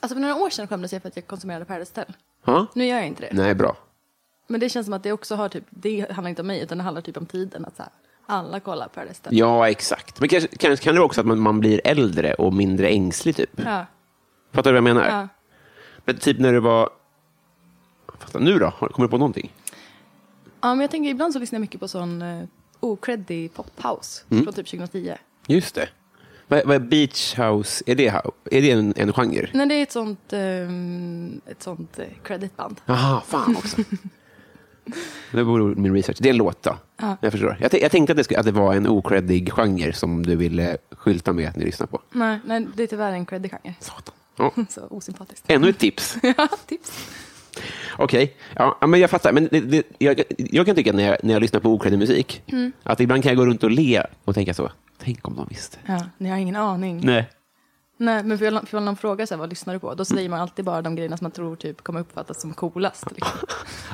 Speaker 2: Alltså för några år sedan skämdes jag för att jag konsumerade Paradise Hotel.
Speaker 1: Ja?
Speaker 2: Nu gör jag inte det.
Speaker 1: Nej, bra.
Speaker 2: Men det känns som att det också har typ, det handlar inte om mig utan det handlar typ om tiden. Att så här, alla kollar på det stället.
Speaker 1: Ja, exakt. Men kanske, kanske kan det vara också att man, man blir äldre och mindre ängslig, typ.
Speaker 2: Ja,
Speaker 1: Fattar du vad jag menar?
Speaker 2: ja.
Speaker 1: Men typ när du var... Fattar, nu då? Har- Kommer du på någonting?
Speaker 2: ja, men jag tänker ibland så lyssnar jag mycket på sån eh, okreddig poppaus
Speaker 1: Mm.
Speaker 2: från typ 2010.
Speaker 1: Just det. Vad, vad är beach house? Är det, hou- är det en, en genre?
Speaker 2: Nej, det är ett sånt, ehm, ett sånt eh, creditband.
Speaker 1: Jaha, fan också. det vore min research. Det är en låt då. Jag förstår. Jag, tän- jag tänkte att det, skulle, att det var en okreddig genre som du ville skylta med att ni lyssnar på.
Speaker 2: Nej, nej, det är tyvärr en creddig genre.
Speaker 1: Satan. Ja.
Speaker 2: Så osympatiskt.
Speaker 1: Ännu ett tips.
Speaker 2: ja, tips.
Speaker 1: Okej, ja, ja, men jag fattar. Men det, det, jag, jag kan tycka när jag, när jag lyssnar på okreddig musik, att ibland kan jag gå runt och le och tänka så. Tänk om de visste.
Speaker 2: Ja, ni har ingen aning. Nej,
Speaker 1: Nej. Mm.
Speaker 2: men för för om någon frågar så här, vad lyssnar du på? Då säger man alltid bara de grejerna som man tror typ kommer uppfattas som coolast. Liksom.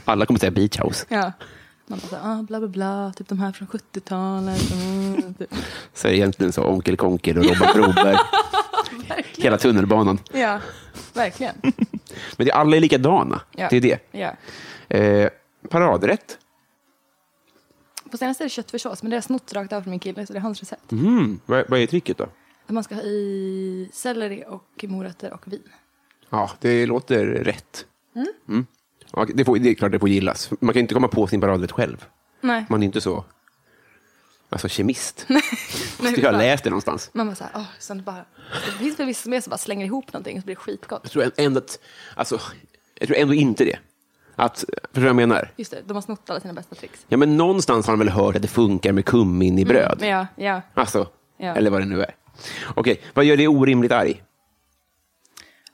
Speaker 1: Alla kommer säga beach house,
Speaker 2: Ja. Man bara så här, ah, bla bla bla, typ de här från 70-talet. Mm, typ.
Speaker 1: säger egentligen så Onkel Konkel och Robban Broberg. Hela tunnelbanan.
Speaker 2: Ja, verkligen.
Speaker 1: Men det, alla är likadana.
Speaker 2: Ja.
Speaker 1: Det är det.
Speaker 2: Ja.
Speaker 1: Eh, paradrätt.
Speaker 2: På senaste är det köttfärssås, men det har jag snott rakt av från min kille, så det är hans recept.
Speaker 1: Mm. Vad, vad är tricket då?
Speaker 2: Att man ska ha i selleri och morötter och vin.
Speaker 1: Ja, det låter rätt. Mm. Ja, det, får, det är klart det får gillas. Man kan ju inte komma på sin paradrätt själv.
Speaker 2: Nej,
Speaker 1: Man är inte så alltså, kemist.
Speaker 2: nej,
Speaker 1: Jag har
Speaker 2: fan.
Speaker 1: läst det någonstans.
Speaker 2: Man bara så här, åh, sen bara, det finns väl vissa som är som bara slänger ihop någonting och så blir det skitgott.
Speaker 1: Jag tror ändå, att, alltså, jag tror ändå inte det. Att, förstår du vad jag menar?
Speaker 2: Just det, de har snott alla sina bästa tricks.
Speaker 1: Ja, men någonstans har de väl hört att det funkar med kummin i bröd.
Speaker 2: Mm, Men ja, ja.
Speaker 1: Alltså,
Speaker 2: Ja.
Speaker 1: eller vad det nu är. Okej, vad gör dig orimligt arg?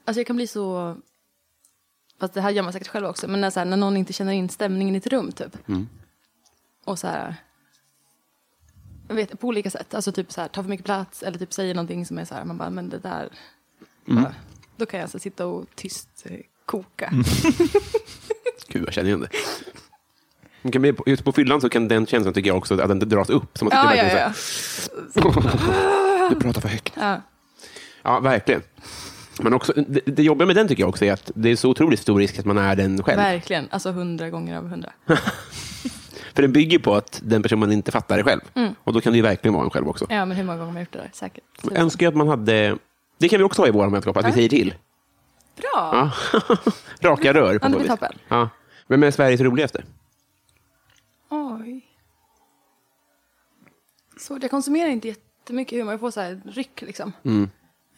Speaker 2: Alltså jag kan bli så... Fast det här gör man säkert själv också. Men när, så här, när någon inte känner in stämningen i ett rum typ. Och så här... Jag vet, på olika sätt. Alltså typ så här, tar för mycket plats eller typ säger någonting som är så här, man bara, men det där... Bara, då kan jag alltså sitta och tyst eh, koka.
Speaker 1: Gud, jag känner igen det. Det Kan bli, just på fyllan så kan den känslan tycker jag också att den dras upp. Som att
Speaker 2: Ja,
Speaker 1: det
Speaker 2: ja,
Speaker 1: verkligen
Speaker 2: ja.
Speaker 1: så här, Du pratar för högt.
Speaker 2: ja.
Speaker 1: Ja, verkligen. Men också, det, det jobbiga med den tycker jag också är att det är så otroligt stor risk att man är den själv.
Speaker 2: Verkligen. Alltså hundra gånger av hundra.
Speaker 1: För den bygger på att den personen inte fattar det själv. Och då kan det ju verkligen vara en själv också.
Speaker 2: Mm. Ja, men hur många gånger har man gjort det där? Säkert.
Speaker 1: Jag önskar ju att man hade... Det kan vi också ha i våra mätskap, att vi säger till.
Speaker 2: Bra!
Speaker 1: Ja. Raka rör.
Speaker 2: Ja,
Speaker 1: På
Speaker 2: det
Speaker 1: så
Speaker 2: blir
Speaker 1: vis.
Speaker 2: toppen.
Speaker 1: Ja. Vem är Sveriges roligaste?
Speaker 2: Oj. Så jag konsumerar inte jättemycket humor. Jag får så här ryck liksom.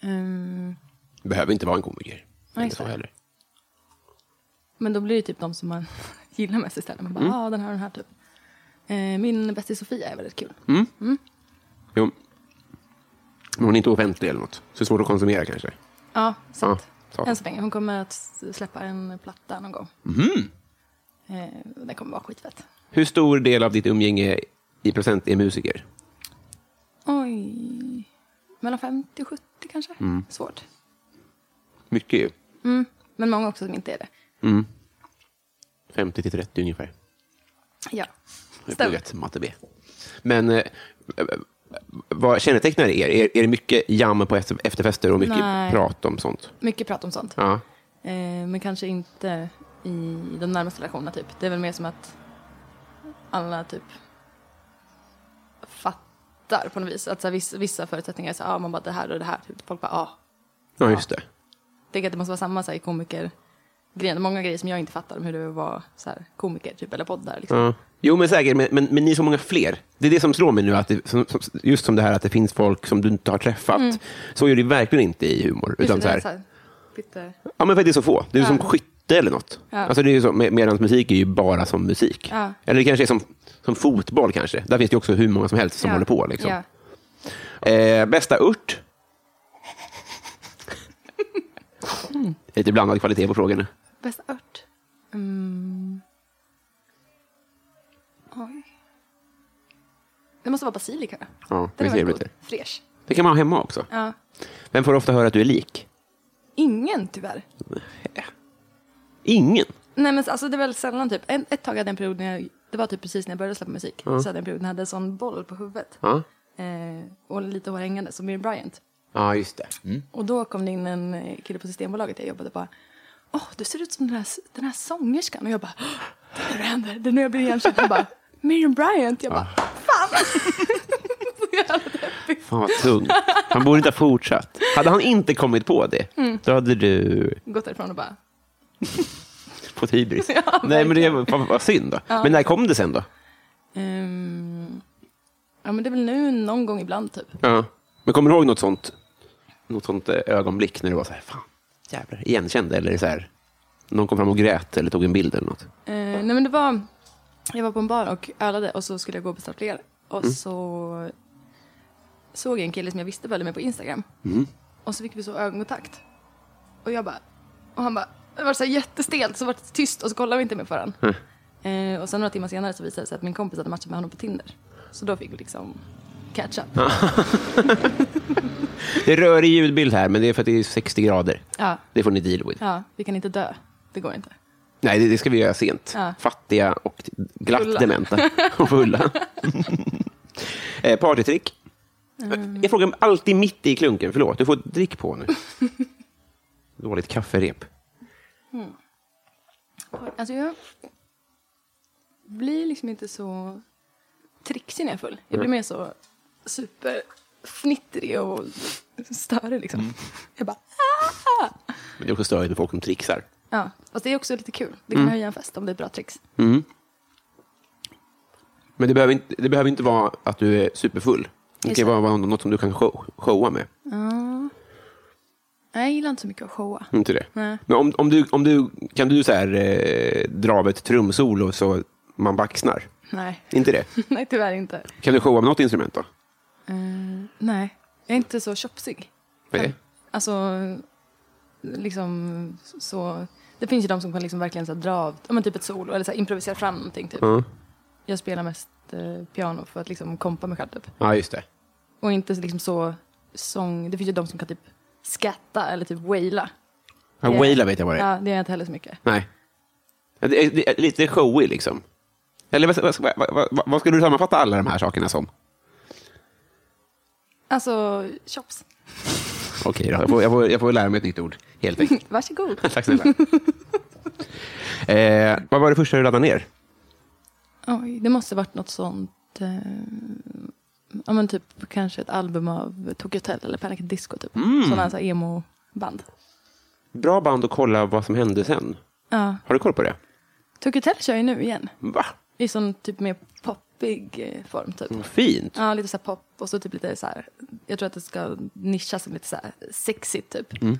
Speaker 2: Ehm,
Speaker 1: Behöver inte vara en komiker.
Speaker 2: Nej,
Speaker 1: Inte så
Speaker 2: exakt.
Speaker 1: heller.
Speaker 2: men då blir det typ de som man gillar mest istället. Man bara, ah, den här och den här typ. Ehm, min bästis Sofia är väldigt kul.
Speaker 1: Jo. Men hon är inte offentlig eller något. Så det är svårt att konsumera kanske.
Speaker 2: Ja, sant.
Speaker 1: Ja,
Speaker 2: Än så länge. Hon kommer att s- släppa en platta någon gång. Ehm, och den kommer vara skitfett.
Speaker 1: Hur stor del av ditt umgänge i procent är musiker?
Speaker 2: Oj. Mellan 50 och 70 kanske. Svårt.
Speaker 1: Mycket ju.
Speaker 2: Men många också som inte är det.
Speaker 1: 50 till 30 ungefär.
Speaker 2: Ja.
Speaker 1: Jag
Speaker 2: Stämmer.
Speaker 1: pluggat matte B. Men eh, eh, vad kännetecknar er? Är, är det mycket jam på efter- efterfester och mycket
Speaker 2: Nej.
Speaker 1: prat om sånt?
Speaker 2: Mycket prat om sånt.
Speaker 1: Ja.
Speaker 2: Eh, men kanske inte i de närmaste relationerna typ. Det är väl mer som att alla typ fattar på något vis. Att så här, vissa, vissa förutsättningar är så här, ah, man bara det här och det här. Typ. Folk bara, ah.
Speaker 1: ja, just det.
Speaker 2: Tänker att det måste vara samma så här, i komiker Många grejer som jag inte fattar om hur det är att vara så här, komiker typ, eller poddar. Liksom.
Speaker 1: Ja. Jo, men säkert. Men, men, men ni är så många fler. Det är det som slår mig nu, att det, som, som, just som det här att det finns folk som du inte har träffat. Så är det verkligen inte i humor.
Speaker 2: Mm. Just
Speaker 1: Utan
Speaker 2: det,
Speaker 1: så
Speaker 2: det är
Speaker 1: här,
Speaker 2: så här, lite-
Speaker 1: ja, men för att det är så få. Det är som skytte eller något. Alltså, det är ju så, med, medans musik är ju bara som musik.
Speaker 2: Ja.
Speaker 1: Eller det kanske är som, som fotboll. kanske. Där finns det ju också hur många som helst som
Speaker 2: ja.
Speaker 1: håller på. Liksom.
Speaker 2: Ja.
Speaker 1: Eh, bästa ört? Lite blandad kvalitet på frågorna.
Speaker 2: Bästa ört? Mm. Oj. Det måste vara basilika. då.
Speaker 1: Ja,
Speaker 2: Den
Speaker 1: det,
Speaker 2: är
Speaker 1: är
Speaker 2: väldigt
Speaker 1: det.
Speaker 2: god. Fräsch.
Speaker 1: det kan man ha hemma också.
Speaker 2: Ja.
Speaker 1: Vem får ofta höra att du är lik?
Speaker 2: Ingen tyvärr.
Speaker 1: Ingen.
Speaker 2: Nej men alltså det är väl sällan typ. En, ett tag hade jag en period när jag, det var typ precis när jag började släppa musik. Så hade jag en period när jag hade en sån boll på huvudet.
Speaker 1: Ja,
Speaker 2: Eh, och lite hår hängande som Miriam Bryant.
Speaker 1: ja just det.
Speaker 2: Och då kom det in en eh, kille på Systembolaget jag jobbade bara. Åh, du ser ut som den här, den här sångerskan. Och jag bara. "Åh, det är nu det händer. Det är nu jag blir igenkänd. Jag bara, Miriam Bryant. Jag bara, fan. Så jävla deppigt.
Speaker 1: Fan vad tung. Han borde inte ha fortsatt. Hade han inte kommit på det,
Speaker 2: Mm.
Speaker 1: då hade du
Speaker 2: Gått därifrån och bara,
Speaker 1: fått hybris.
Speaker 2: Ja,
Speaker 1: Nej, men det
Speaker 2: verkligen.
Speaker 1: var fan vad synd då. Men när kom det sen då?
Speaker 2: ehm, ja men det är väl nu någon gång ibland typ.
Speaker 1: Ja. Men kommer du ihåg något sånt, något sånt eh, ögonblick när du var så här, fan, jävlar, igenkänd eller så här, någon kom fram och grät eller tog en bild eller något?
Speaker 2: Eh, nej men det var, jag var på en bar och ölade och så skulle jag gå och beställa fler. Och så såg jag en kille som jag visste följde mig på Instagram. Och så fick vi så ögonkontakt. Och jag bara, och han bara, det var så här jättestelt så var det tyst och så kollade vi inte mer på varandra. Eh, och sen några timmar senare så visade det sig att min kompis hade matchat med honom på Tinder. Så då fick vi liksom catch up.
Speaker 1: Det rör i ljudbild här, men det är för att det är 60 grader.
Speaker 2: Ja,
Speaker 1: Det får ni deal with.
Speaker 2: ja, vi kan inte dö. Det går inte.
Speaker 1: Nej, det, det ska vi göra sent.
Speaker 2: Ja.
Speaker 1: Fattiga och glatt
Speaker 2: Fulla.
Speaker 1: dementa. Och fulla. eh, partytrick.
Speaker 2: Mm.
Speaker 1: Jag frågar alltid mitt i klunken. Förlåt, du får ett drick på nu. Dåligt kafferep.
Speaker 2: Alltså jag blir liksom inte så trixig när jag är full. Jag blir mer så superfnittrig och störig liksom. Jag bara, "Ah."
Speaker 1: Men det är också störigt med folk som trixar.
Speaker 2: ja. Fast det är också lite kul. Det kan höja en fest om det är ett bra tricks.
Speaker 1: Men det behöver inte, det behöver inte vara att du är superfull. Det
Speaker 2: Just
Speaker 1: kan
Speaker 2: det.
Speaker 1: vara, vara något som du kan show, showa med.
Speaker 2: Nej, jag gillar inte så mycket att showa.
Speaker 1: Mm, Inte det?
Speaker 2: Nej.
Speaker 1: Men om, om du, om du, kan du så här, eh, dra av ett trumsolo så man baxnar?
Speaker 2: Nej,
Speaker 1: Inte det?
Speaker 2: nej tyvärr inte.
Speaker 1: Kan du showa med något instrument då?
Speaker 2: Eh, nej, jag är inte så tjopsig.
Speaker 1: Vad är det?
Speaker 2: Alltså, liksom så... Det finns ju de som kan liksom verkligen så här dra av, ja, men typ ett solo eller så här improvisera fram någonting. Typ. Jag spelar mest eh, piano för att liksom kompa mig själv. Typ.
Speaker 1: Ja, just det.
Speaker 2: Och inte så- liksom så sång... Det finns ju de som kan typ skatta eller typ waila.
Speaker 1: Ja,
Speaker 2: Det-
Speaker 1: Waila vet jag vad det är.
Speaker 2: Ja, det är jag inte heller så mycket.
Speaker 1: Nej. Ja, Det är, det är lite showy liksom. Eller vad, vad, vad, vad, vad- vad skulle du sammanfatta alla de här sakerna som?
Speaker 2: Alltså, chops.
Speaker 1: Okej då, jag får, jag, får, jag får lära mig ett nytt ord helt enkelt.
Speaker 2: Varsågod.
Speaker 1: Tack snälla. eh, vad var det första du laddade ner?
Speaker 2: Oj, det måste varit något sånt... Eh, ja, men typ kanske ett album av Tokyo Hotel eller Panic at Disco. Typ. Sådana så här emo-band.
Speaker 1: Bra band att kolla vad som hände sen.
Speaker 2: Ja.
Speaker 1: Har du koll på det?
Speaker 2: Tokyo Hotel kör ju nu igen.
Speaker 1: Va?
Speaker 2: I sån typ mer poppig eh, form typ.
Speaker 1: Vad fint.
Speaker 2: Ja, lite så här pop och så typ lite så här. Jag tror att det ska nischas som lite så här sexigt typ.
Speaker 1: Mm.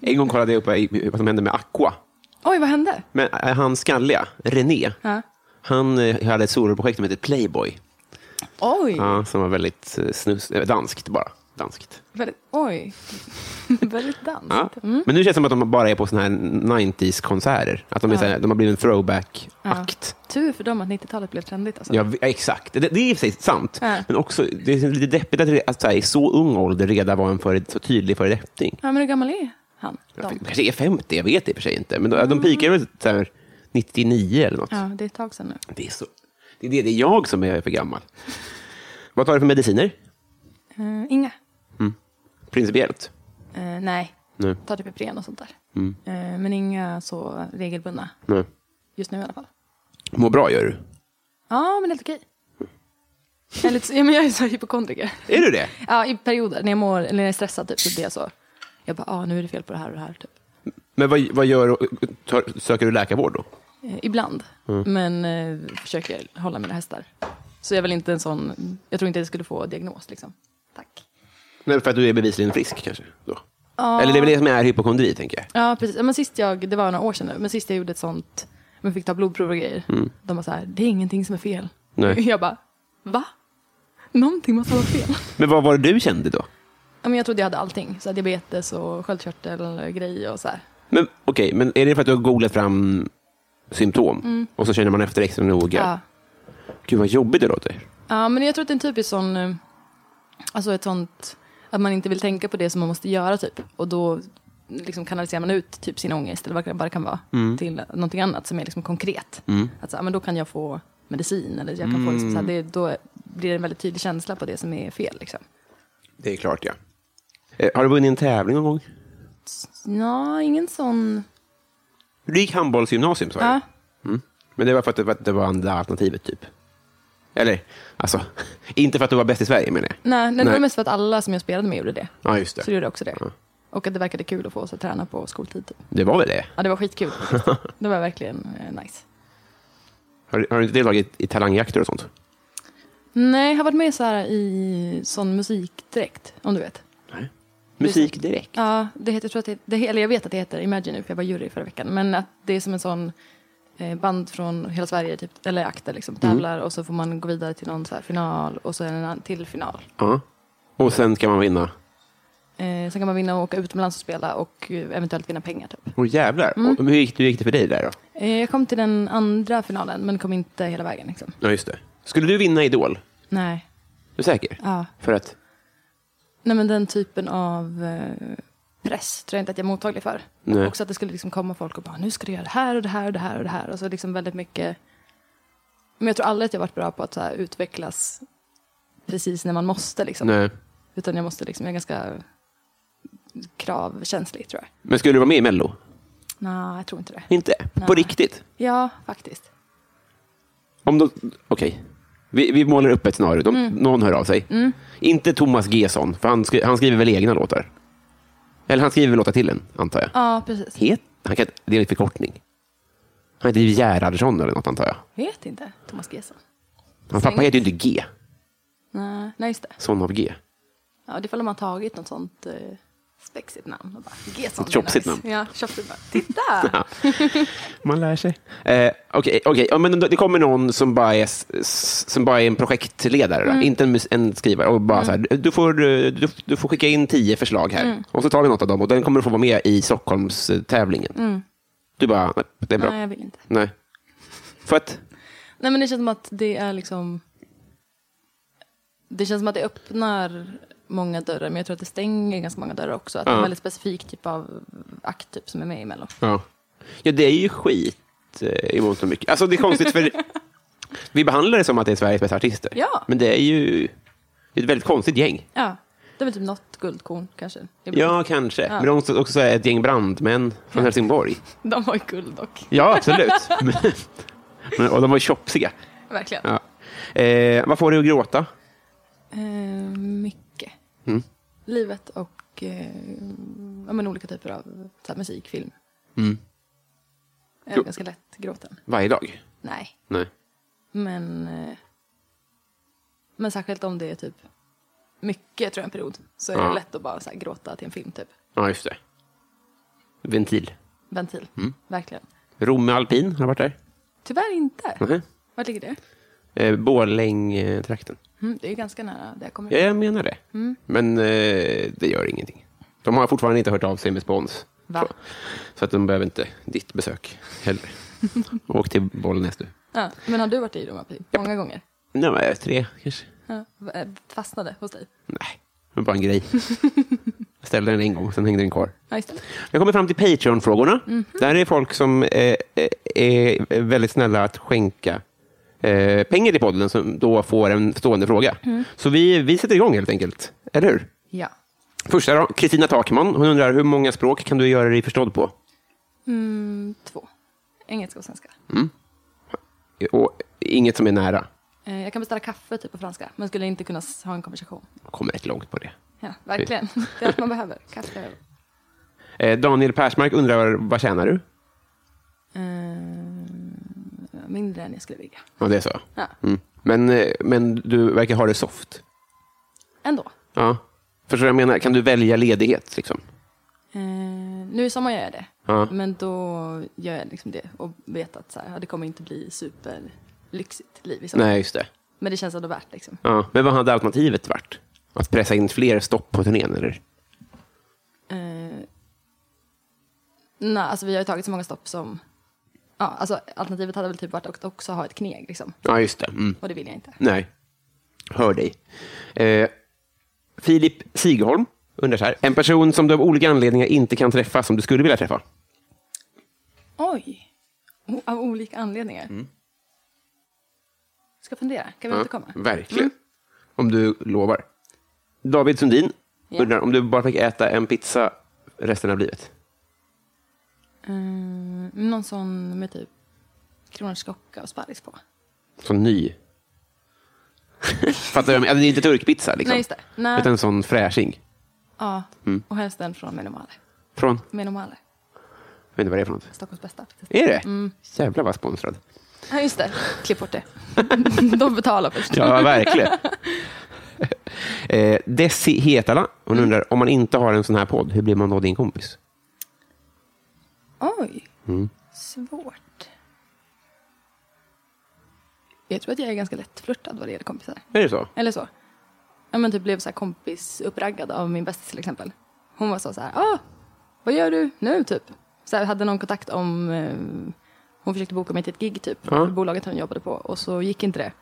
Speaker 1: En gång kollade jag upp vad vad som hände med Aqua.
Speaker 2: Oj, vad hände?
Speaker 1: Men eh, han skalliga, René,
Speaker 2: Ja.
Speaker 1: han eh, hade ett soloprojekt som hette Playboy.
Speaker 2: Oj,
Speaker 1: Ja, som var väldigt eh, snus, eh, danskt bara. Danskt.
Speaker 2: väldigt, oj. väldigt Mm. dans.
Speaker 1: Ja. Men nu känns det som att de bara är på såna här 90s-konserter. Att de, är så här, de har blivit en throwback-akt.
Speaker 2: Tur för dem att 90-talet blev trendigt alltså.
Speaker 1: Ja. vi- ja, exakt. Det, det är i och för sig sant.
Speaker 2: Ja.
Speaker 1: Men också, det är lite deppigt att, det- att så här, i så ung ålder redan vara en före, så tydlig föredetting.
Speaker 2: Ja, men hur gammal är han?
Speaker 1: De
Speaker 2: De?
Speaker 1: kanske är 50, jag vet i och för sig inte. Men de, de pikar väl så här, 99 eller något.
Speaker 2: Mm. Ja, det är ett tag sedan nu.
Speaker 1: Det, är så, det, är det, det är jag som är för gammal. Vad tar du för mediciner?
Speaker 2: Eh, inga?
Speaker 1: Principiellt?
Speaker 2: Eh, nej,
Speaker 1: Nej. Mm.
Speaker 2: tar typ Ipren och sånt där. Eh, men inga så regelbundna
Speaker 1: Nej.
Speaker 2: just nu i alla fall.
Speaker 1: Mm. Mår bra gör du.
Speaker 2: Ja, men helt okej.
Speaker 1: Mm.
Speaker 2: Jag är, lite, så- ja, men jag är så här hypokondriker.
Speaker 1: Är du det?
Speaker 2: Ja, i perioder. När jag, mår, eller när jag är stressad typ, så blir jag så. Jag bara, ah, nu är det fel på det här och det här. Typ.
Speaker 1: Men vad, vad gör du? Tar- Söker du läkarvård då?
Speaker 2: Eh, ibland. Men eh, försöker hålla mina hästar. Så jag är väl inte en sån... Jag tror inte jag skulle få diagnos. Liksom. Tack.
Speaker 1: Nej, för att du är bevisligen frisk kanske? Då. Eller det är väl det som är hypokondri, tänker jag.
Speaker 2: Ja, precis. Ja, Men sist jag, det var några år sedan nu, men sist jag gjorde ett sånt, men fick ta blodprov och grejer. De var så här, det är ingenting som är fel.
Speaker 1: Nej.
Speaker 2: Jag bara, va? Någonting måste vara fel.
Speaker 1: Men vad var det du kände då?
Speaker 2: ja, men jag trodde jag hade allting. Så här, diabetes och sköldkörtelgrejer och så här.
Speaker 1: Men okej, men är det för att du har googlat fram symptom och så känner man efter extra noga?
Speaker 2: Mm. Ja.
Speaker 1: Gud, vad jobbigt det låter.
Speaker 2: ja, men jag tror att det är en typisk sån, eh, alltså ett sånt, att man inte vill tänka på det som man måste göra typ. Och då liksom kanaliserar man ut typ sin ångest eller vad det bara kan vara
Speaker 1: Mm.
Speaker 2: till någonting annat som är liksom konkret. Att så, här, men då kan jag få medicin eller jag kan få liksom, så här,
Speaker 1: Mm.
Speaker 2: det, då blir det en väldigt tydlig känsla på det som är fel. Liksom.
Speaker 1: Det är klart, ja. Eh, har du vunnit en tävling någon gång?
Speaker 2: Ja, ingen sån...
Speaker 1: Du gick handbollsgymnasium, sa
Speaker 2: Ja,
Speaker 1: jag. Men det var för att det var, det var andra alternativet, typ. Eller, alltså, inte för att du var bäst i Sverige, menar jag.
Speaker 2: Nej, nej, det
Speaker 1: Nej.
Speaker 2: var mest för att alla som jag spelade med gjorde det.
Speaker 1: Ja, just
Speaker 2: Så
Speaker 1: det.
Speaker 2: det gjorde jag också det. Och att det verkade kul att få oss att träna på skoltid. Typ.
Speaker 1: Det var väl det?
Speaker 2: Ja, det var skitkul. Det var verkligen eh, nice.
Speaker 1: Har, har du inte deltagit i talangjakter och sånt?
Speaker 2: Nej, jag har varit med så här i sån musikdräkt, om du vet.
Speaker 1: Musik direkt.
Speaker 2: Ja, det heter, jag, tror att det, det, eller jag vet att det heter Imagine nu, för jag var jury förra veckan. Men att det är som en sån eh, band från hela Sverige, typ, eller akter, liksom, tävlar och så får man gå vidare till någon så här final och så en annan till final.
Speaker 1: Ja. Och sen kan man vinna.
Speaker 2: Eh, sen kan man vinna och åka utomlands och spela och eh, eventuellt vinna pengar. Typ.
Speaker 1: Åh jävlar. Och hur, gick, hur gick det för dig där då?
Speaker 2: Eh, jag kom till den andra finalen, men kom inte hela vägen. Liksom.
Speaker 1: Ja, just det. Skulle du vinna Idol?
Speaker 2: Nej.
Speaker 1: Är du säker?
Speaker 2: Ja.
Speaker 1: För att?
Speaker 2: Nej, men den typen av eh, press tror jag inte att jag är mottaglig för.
Speaker 1: Nej.
Speaker 2: Också att det skulle liksom komma folk och bara, nu ska du göra det här och det här och det här och det här. Och så liksom väldigt mycket. Men jag tror aldrig att jag varit bra på att så här, utvecklas precis när man måste. Liksom.
Speaker 1: Nej.
Speaker 2: Utan jag måste liksom, jag är ganska kravkänslig tror jag.
Speaker 1: Men skulle du vara med i Mello?
Speaker 2: Nej, jag tror inte det.
Speaker 1: Inte? På
Speaker 2: Nej.
Speaker 1: riktigt?
Speaker 2: Ja, faktiskt.
Speaker 1: Om de, okej. Vi, vi målar upp ett scenario. De, Någon hör av sig. Inte Thomas Gesson, för han, skri, han skriver väl egna låtar? Eller han skriver väl låtar till en, antar jag?
Speaker 2: Ja, precis.
Speaker 1: Het? Han kan, det är en förkortning. Han heter Gerhardsson eller något, antar jag.
Speaker 2: Vet inte, Thomas Gesson.
Speaker 1: Hans pappa heter ju inte G,
Speaker 2: Nej, nej, just det.
Speaker 1: son av G.
Speaker 2: Ja, det är ifall de har tagit något sånt eh, spexigt namn och bara, Gesson.
Speaker 1: Ett tjopsigt namn.
Speaker 2: Ja, tjopsigt namn. Titta!
Speaker 1: Man lär sig. Eh, Okej, okej. Ja, men det kommer någon som bara är, s- s- som bara är en projektledare,
Speaker 2: Mm.
Speaker 1: då. inte en, mus- en skrivare. Och bara så här, du, får, eh, du, du får skicka in tio förslag här.
Speaker 2: Mm.
Speaker 1: Och så tar vi något av dem och den kommer du få vara med i Stockholmstävlingen. Du bara, "Nej, det är bra.
Speaker 2: Mm. Nej,
Speaker 1: Nej.
Speaker 2: jag vill inte.
Speaker 1: För att,
Speaker 2: Nej men det känns som att det är liksom... Det känns som att det öppnar många dörrar, men jag tror att det stänger ganska många dörrar också. Att det är en väldigt specifik typ av akt typ, som är med i Mello.
Speaker 1: ja. ja, det är ju skit eh, i mångt och mycket. Alltså det är konstigt för vi behandlar det som att det är Sveriges bästa artister.
Speaker 2: Ja.
Speaker 1: Men det är ju ett väldigt konstigt gäng.
Speaker 2: Ja, det är väl typ något guldkorn kanske.
Speaker 1: Ja, kanske. Men de är också ett gäng brandmän från Helsingborg.
Speaker 2: De har ju guld dock,
Speaker 1: Ja, absolut. Men, men, och de var ju tjopsiga.
Speaker 2: verkligen.
Speaker 1: Ja. Eh, vad får dig att gråta?
Speaker 2: Eh, mycket.
Speaker 1: Mm.
Speaker 2: Livet och eh, ja, men olika typer av så här, musik, film. Jag är
Speaker 1: Mm. Jo.
Speaker 2: ganska lätt gråten.
Speaker 1: Varje dag?
Speaker 2: Nej,
Speaker 1: Nej.
Speaker 2: Men, eh, men särskilt om det är typ mycket tror jag en period så är
Speaker 1: Ja.
Speaker 2: det lätt att bara så här, gråta till en film typ.
Speaker 1: Ja, just det. Ventil.
Speaker 2: Ventil.
Speaker 1: Mm.
Speaker 2: Verkligen.
Speaker 1: Romme alpin, har du varit där?
Speaker 2: Tyvärr inte.
Speaker 1: Nej.
Speaker 2: Var ligger det?
Speaker 1: Eh, Borlänge-trakten.
Speaker 2: Mm, det är ju ganska nära där jag kommer
Speaker 1: Ja,
Speaker 2: ifrån.
Speaker 1: jag menar det. Men eh, det gör ingenting. De har fortfarande inte hört av sig med spons.
Speaker 2: Va?
Speaker 1: Så att de behöver inte ditt besök heller. Åk till Bollnäs du.
Speaker 2: Ja. Men har du varit i Roma Pi? Många gånger?
Speaker 1: Nej, men, tre kanske.
Speaker 2: Ja. V- eh, Fastnade hos dig?
Speaker 1: Nej, det var bara en grej. Jag ställde den en gång, sen hängde den kvar.
Speaker 2: Ja, just det.
Speaker 1: Jag kommer fram till Patreon-frågorna. Där är folk som eh, eh, är väldigt snälla att skänka eh, pengar till podden som då får en stående fråga. Så vi, vi sätter igång helt enkelt, eller hur?
Speaker 2: Ja.
Speaker 1: Första då, Kristina Takman. Hon undrar hur många språk kan du göra dig förstådd på?
Speaker 2: Mm, två. Engelska och svenska.
Speaker 1: Och inget som är nära.
Speaker 2: Eh, jag kan beställa kaffe typ på franska men skulle inte kunna s- ha en konversation.
Speaker 1: Jag kommer rätt långt på det.
Speaker 2: Ja, verkligen. Det är allt man behöver. Kaffe.
Speaker 1: Eh, Daniel Persmark undrar, vad tjänar du?
Speaker 2: Eh, mindre än jag skulle vilja.
Speaker 1: Ja, det är så.
Speaker 2: Ja.
Speaker 1: Mm. Men, eh, men du verkar ha det soft.
Speaker 2: Ändå.
Speaker 1: Ja. Förstår du vad jag menar? Kan du välja ledighet? Liksom?
Speaker 2: Eh, nu i sommar gör jag det.
Speaker 1: Ja.
Speaker 2: Men då gör jag liksom det och vet att så här, ja, det kommer inte bli superlyxigt liv i sommar.
Speaker 1: Nej, just det.
Speaker 2: Men det känns ändå värt liksom.
Speaker 1: Ja, men vad hade alternativet varit? Att pressa in fler stopp på turnén, eller?
Speaker 2: Eh, nej, alltså vi har ju tagit så många stopp som... Ja, alltså alternativet hade väl typ varit att också ha ett kneg liksom.
Speaker 1: Ja, just det. Mm.
Speaker 2: Och det vill jag inte.
Speaker 1: Nej. Hör dig. Eh, Filip Sigholm undrar så här. En person som du av olika anledningar inte kan träffa, som du skulle vilja träffa?
Speaker 2: Oj! O- av olika anledningar.
Speaker 1: Mm.
Speaker 2: Ska fundera. Kan vi återkomma?
Speaker 1: verkligen. Om du lovar. David Sundin
Speaker 2: Ja.
Speaker 1: undrar om du bara fick äta en pizza resten av livet?
Speaker 2: Eh, någon sån Mm, med typ kronärtskocka och sparris på.
Speaker 1: Sån ny. Fattar du? vad jag menar? Alltså, det är inte turkpizza liksom.
Speaker 2: Nej, just det. Nej.
Speaker 1: Utan en sån fräsching.
Speaker 2: Ja,
Speaker 1: Mm.
Speaker 2: och helst den från Menomale.
Speaker 1: Från, jag
Speaker 2: Menomale,
Speaker 1: vet inte vad det är för något.
Speaker 2: Stockholms bästa. faktiskt.
Speaker 1: Är det?
Speaker 2: Mm.
Speaker 1: Jävlar vad sponsrad.
Speaker 2: Ja, just det. Klipp bort det. De betalar först.
Speaker 1: Ja, verkligen. eh, Desi Hetala, hon
Speaker 2: Mm.
Speaker 1: undrar, om man inte har en sån här podd, hur blir man då din kompis?
Speaker 2: Oj, svårt. Jag tror att jag är ganska lättflörtad vad det gäller kompisar.
Speaker 1: Är det så?
Speaker 2: Eller så. Ja men typ blev så här kompis uppraggad av min bästis till exempel. Hon var så så här, ah, vad gör du nu typ? Så här, hade någon kontakt om, eh, hon försökte boka mig till ett gig typ, för bolaget hon jobbade på och så gick inte det.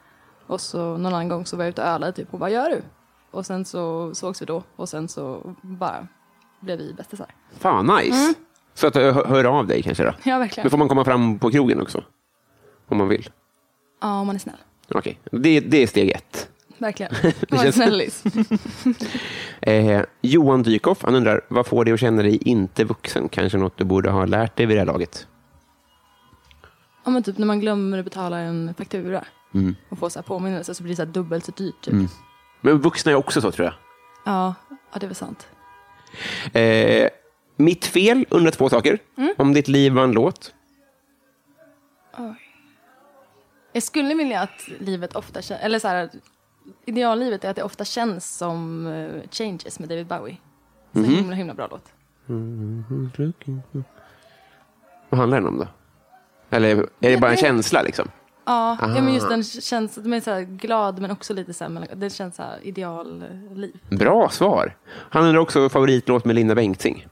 Speaker 2: Och så någon annan gång så var jag ute och ölade typ, och vad gör du? Och sen så sågs vi då och sen så bara blev vi bästisar.
Speaker 1: Fan, nice. Så att du hör hör av dig kanske då?
Speaker 2: Mm. Ja verkligen.
Speaker 1: Men
Speaker 2: Ja
Speaker 1: får man komma fram på krogen också? Om man vill?
Speaker 2: om man är snäll.
Speaker 1: Okej, det, det är steg ett.
Speaker 2: Verkligen. Var en
Speaker 1: känns-
Speaker 2: snällis.
Speaker 1: Eh, Johan Dykhoff, han undrar, vad får dig att känna dig inte vuxen? Kanske något du borde ha lärt dig vid det här laget?
Speaker 2: Ja men typ när man glömmer att betala en faktura
Speaker 1: Mm.
Speaker 2: och får så här påminnelse så blir det så här dubbelt så dyrt typ.
Speaker 1: Men vuxna är också så, tror jag.
Speaker 2: Ja, ja, det är väl sant.
Speaker 1: Eh, mitt fel undrar två saker.
Speaker 2: Mm.
Speaker 1: Om ditt liv var en låt.
Speaker 2: Jag skulle vilja att livet ofta känns, eller så här, ideallivet är att det ofta känns som eh, Changes med David Bowie. Så himla, himla bra låt.
Speaker 1: Vad handlar den om då? Eller är det bara en
Speaker 2: det-
Speaker 1: känsla liksom?
Speaker 2: Ja, ja men just den känns, den är så här glad men också lite så här, melankolisk. det känns så här idealliv.
Speaker 1: Bra svar. Han undrar också favoritlåt med Linda Bengtzing.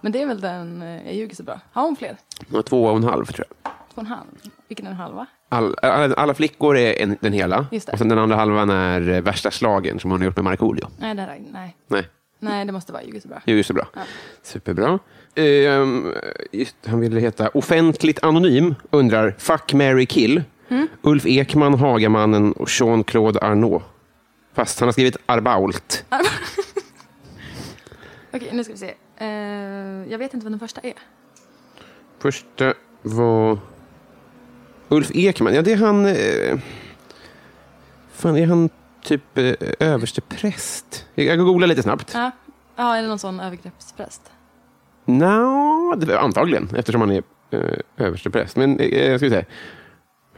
Speaker 2: Men det är väl den, eh, jag ljuger så bra. Har hon fler?
Speaker 1: Hon har Två och en halv tror jag.
Speaker 2: Två och en halv? Vilken är den halva?
Speaker 1: All, alla, alla flickor är en, den hela.
Speaker 2: Just det.
Speaker 1: Och sen den andra halvan är eh, värsta slagen som hon har gjort med Markoolio.
Speaker 2: Nej, det här, nej.
Speaker 1: Nej,
Speaker 2: nej, det måste vara jag ljuger så bra.
Speaker 1: det är ju så bra. Superbra. Ehm, just, han ville heta Offentligt Anonym undrar Fuck, Mary kill. Ulf Ekman, Hagamannen och Jean-Claude Arnault. Fast han har skrivit Arbault.
Speaker 2: Okej, nu ska vi se. Eh, jag vet inte vad den första är.
Speaker 1: Första var Ulf Ekman. Ja, det är han... Eh, fan, är han typ eh, överstepräst? Jag jag googlar lite snabbt.
Speaker 2: Ja, ja eller någon sån övergreppspräst.
Speaker 1: Nja, det antagligen, eftersom han är eh, överstepräst. Men eh, jag ska vi se.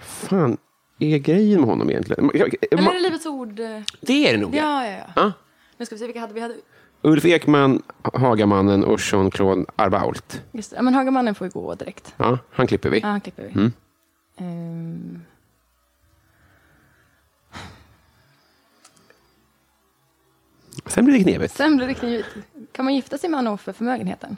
Speaker 1: fan är grejen med honom egentligen? Ma-
Speaker 2: Eller är
Speaker 1: ma-
Speaker 2: det Livets Ord? eh,
Speaker 1: det är det nog.
Speaker 2: Ja, ja, ja.
Speaker 1: Ja.
Speaker 2: Nu ska vi se vilka hade vi hade.
Speaker 1: Ulf Ekman, Hagamannen och Jean-Claude Arbault.
Speaker 2: Just det. Ja, men Hagamannen får ju gå direkt.
Speaker 1: Ja, han klipper vi.
Speaker 2: Ja, han klipper vi.
Speaker 1: Mm.
Speaker 2: Ehm.
Speaker 1: Sen blir det knepigt.
Speaker 2: sen blir det knivigt. Kan man gifta sig med honom för förmögenheten?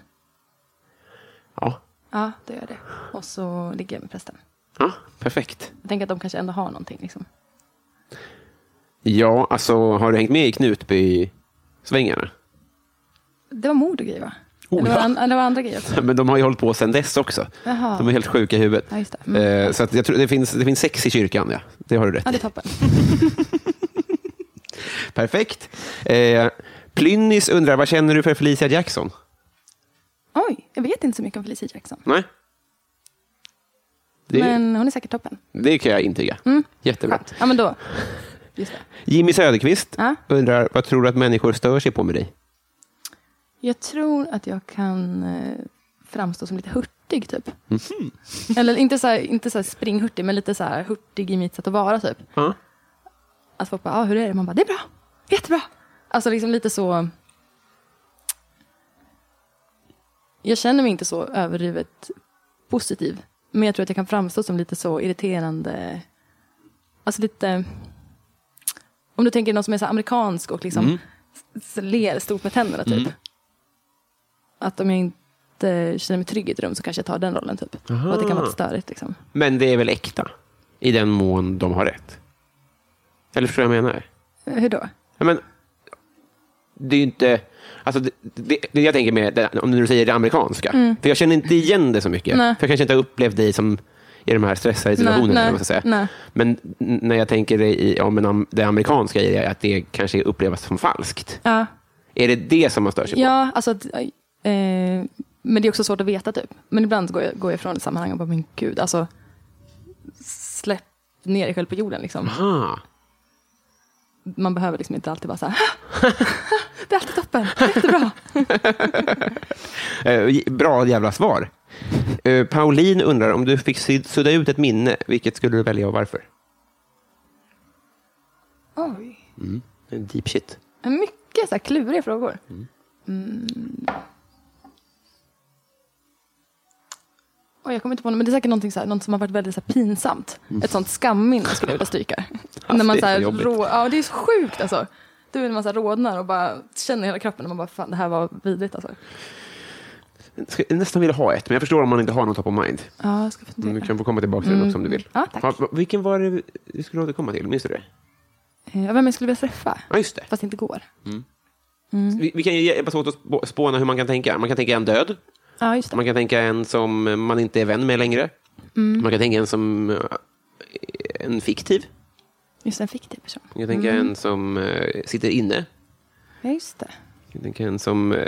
Speaker 1: Ja,
Speaker 2: Ja, då gör jag det. Och så ligger jag med prästen.
Speaker 1: ja perfekt.
Speaker 2: Jag tänker att de kanske ändå har någonting. Liksom.
Speaker 1: Ja, alltså har du hängt med i Knutby-svängarna?
Speaker 2: Det var mord och grejer, va?
Speaker 1: Oh,
Speaker 2: eller, var
Speaker 1: ja.
Speaker 2: an- eller var andra grejer också?
Speaker 1: Men de har ju hållit på sedan dess också.
Speaker 2: Jaha.
Speaker 1: De är helt sjuka i huvudet.
Speaker 2: Ja, just det. Mm.
Speaker 1: Eh, Så att jag tror det finns, det finns sex i kyrkan, ja. Det har du rätt
Speaker 2: Ja, det
Speaker 1: i.
Speaker 2: är toppen.
Speaker 1: Perfekt. Eh, Plynnis undrar, vad känner du för Felicia Jackson?
Speaker 2: Oj, jag vet inte så mycket om Felicia Jackson.
Speaker 1: Nej. Det,
Speaker 2: Men hon är säkert toppen.
Speaker 1: det kan jag intyga. Jättebra.
Speaker 2: Skönt. Ja, men då. Just det.
Speaker 1: Jimmy Söderqvist
Speaker 2: Ja.
Speaker 1: undrar, vad tror du att människor stör sig på med dig?
Speaker 2: Jag tror att jag kan eh, framstå som lite hurtig, typ. Eller inte så, här, inte så här springhurtig, men lite så här hurtig i mitt sätt att vara, typ.
Speaker 1: Ja.
Speaker 2: Att folk bara, ah, hur är det? Man bara, det är bra. Jättebra. Alltså liksom lite så... Jag känner mig inte så överdrivet positiv. Men jag tror att jag kan framstå som lite så irriterande. Alltså lite... Om du tänker någon som är så här amerikansk och liksom s- ler stort med tänderna, typ. Att om jag inte känner mig trygg i ett rum så kanske jag tar den rollen, typ. Och att det kan vara lite störigt, liksom.
Speaker 1: Men det är väl äkta? I den mån de har rätt. Eller förstår du vad jag menar?
Speaker 2: Eh, Hur då?
Speaker 1: Ja, men, det är ju inte... Alltså, det, det, det jag tänker med, det, om du säger det amerikanska, för jag känner inte igen det så mycket.
Speaker 2: Mm. Nej.
Speaker 1: För jag kanske inte har upplevt dig som i de här stressade situationerna.
Speaker 2: nej,
Speaker 1: eller vad man ska säga.
Speaker 2: nej.
Speaker 1: Men n- när jag tänker det i, om en, am- det amerikanska i det, att det kanske upplevs som falskt.
Speaker 2: Ja.
Speaker 1: Är det det som man stör sig på?
Speaker 2: Ja, alltså att, eh, Men det är också svårt att veta typ. Men ibland går jag, går jag ifrån ett sammanhang och bara, men gud, alltså. Släpp ner dig själv på jorden liksom.
Speaker 1: Ah.
Speaker 2: Man behöver liksom inte alltid vara så här, det är alltid toppen, jättebra.
Speaker 1: Eh, j- bra jävla svar. Eh, Pauline undrar om du fick syd- sudda ut ett minne, vilket skulle du välja och varför?
Speaker 2: Oj.
Speaker 1: Deep shit.
Speaker 2: Mycket så här kluriga frågor. Mm. Oj, jag kommer inte på något, men det är säkert någonting så här, något som har varit väldigt så här pinsamt. Ett sånt skamminne skulle jag vilja stryka. när man
Speaker 1: det är
Speaker 2: Alltså, så här,
Speaker 1: så jobbigt.
Speaker 2: rå, ja, det är så sjukt alltså. Du vet när man så här rodnar och bara känner i hela kroppen och man bara, fan det här var vidrigt alltså.
Speaker 1: Skulle nästan vilja ha ett, men jag förstår om man inte har något top of mind.
Speaker 2: Ja, jag ska
Speaker 1: Men Du
Speaker 2: fundera. Mm,
Speaker 1: kan få komma tillbaka till det också om du vill.
Speaker 2: Ja, tack.
Speaker 1: Mm. Ja, va- vilken var det vi skulle återkomma till? Minns du det?
Speaker 2: Ja, Eh, vem jag skulle vilja träffa,
Speaker 1: Ja, just det.
Speaker 2: fast det inte går.
Speaker 1: Vi, vi kan ju hjälpas åt att spå- spåna hur man kan tänka. Man kan tänka en död.
Speaker 2: Ja, just det.
Speaker 1: Man kan tänka en som man inte är vän med längre. Man kan tänka en som eh, en fiktiv.
Speaker 2: Just en fiktiv person.
Speaker 1: Man kan tänka en som eh, sitter inne.
Speaker 2: Ja, just det.
Speaker 1: Man kan tänka en som eh,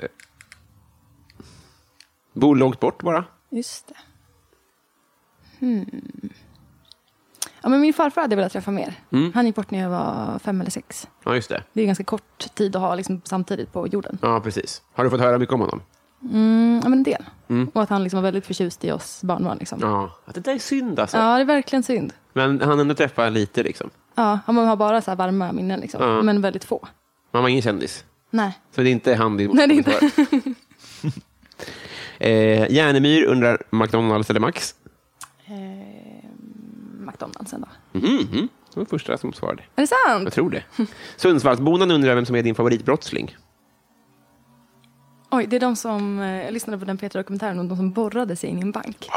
Speaker 1: bor långt bort bara.
Speaker 2: Just det. Hmm. Ja, men min farfar hade jag velat träffa mer. Han gick bort när jag var fem eller sex.
Speaker 1: Ja, just det.
Speaker 2: Det är ju ganska kort tid att ha liksom, samtidigt på jorden.
Speaker 1: Ja, precis. Har du fått höra mycket om honom?
Speaker 2: Mm, ja, men en del. Och att han liksom var väldigt förtjust i oss barnbarn. Liksom. Ja.
Speaker 1: Ja. Att det där är synd alltså.
Speaker 2: det är verkligen synd.
Speaker 1: Men han ändå träffa lite liksom.
Speaker 2: Ja, man har bara så här varma minnen, liksom.
Speaker 1: Ja.
Speaker 2: men väldigt få.
Speaker 1: Man var ingen kändis.
Speaker 2: Nej.
Speaker 1: Så det är inte han din
Speaker 2: Nej, det är
Speaker 1: morsa
Speaker 2: inte.
Speaker 1: eh, Järnemyr undrar McDonalds eller Max?
Speaker 2: Ehm, McDonalds ändå.
Speaker 1: Mhm. Det var första som svarade.
Speaker 2: Är det sant?
Speaker 1: Jag tror det. Sundsvallsbonan undrar vem som är din favoritbrottsling.
Speaker 2: Oj, det är de som... eh, Jag lyssnade på den Petra-dokumentären om de som borrade sig in i en bank.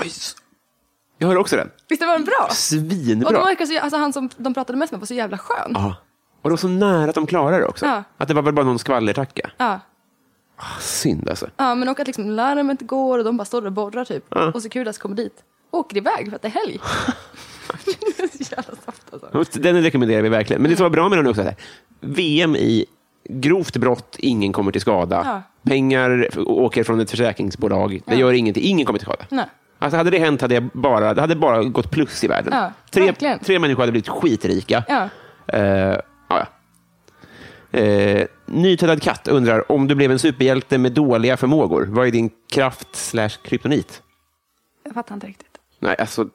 Speaker 1: Jag hör också den.
Speaker 2: Visst det var den bra? Och de
Speaker 1: Svinbra.
Speaker 2: verkar så, alltså, han som de pratade mest med var så jävla skön.
Speaker 1: Ja. Och det var så nära att de klarade det också.
Speaker 2: Ja.
Speaker 1: Att det var väl bara någon skvallertacka.
Speaker 2: Ja.
Speaker 1: Synd alltså.
Speaker 2: Ja, men och att liksom larmet går och de bara står och borrar typ.
Speaker 1: Ja.
Speaker 2: Och Securitas kommer dit. Åker iväg för att det är helg. det är så jävla soft alltså.
Speaker 1: Den rekommenderar vi verkligen. Men det som var bra med den också, är att VM i grovt brott, ingen kommer till skada.
Speaker 2: Ja.
Speaker 1: Pengar f- åker från ett försäkringsbolag, det gör ingenting, ingen kommer till skada.
Speaker 2: Nej.
Speaker 1: Alltså hade det hänt hade jag bara, det hade bara gått plus i världen.
Speaker 2: Ja,
Speaker 1: tre,
Speaker 2: verkligen.
Speaker 1: tre människor hade blivit skitrika.
Speaker 2: Ja.
Speaker 1: Eh, ja, ja. Eh, Nytvättad katt undrar, om du blev en superhjälte med dåliga förmågor, vad är din kraft slash kryptonit?
Speaker 2: Jag fattar inte riktigt.
Speaker 1: Nej, alltså,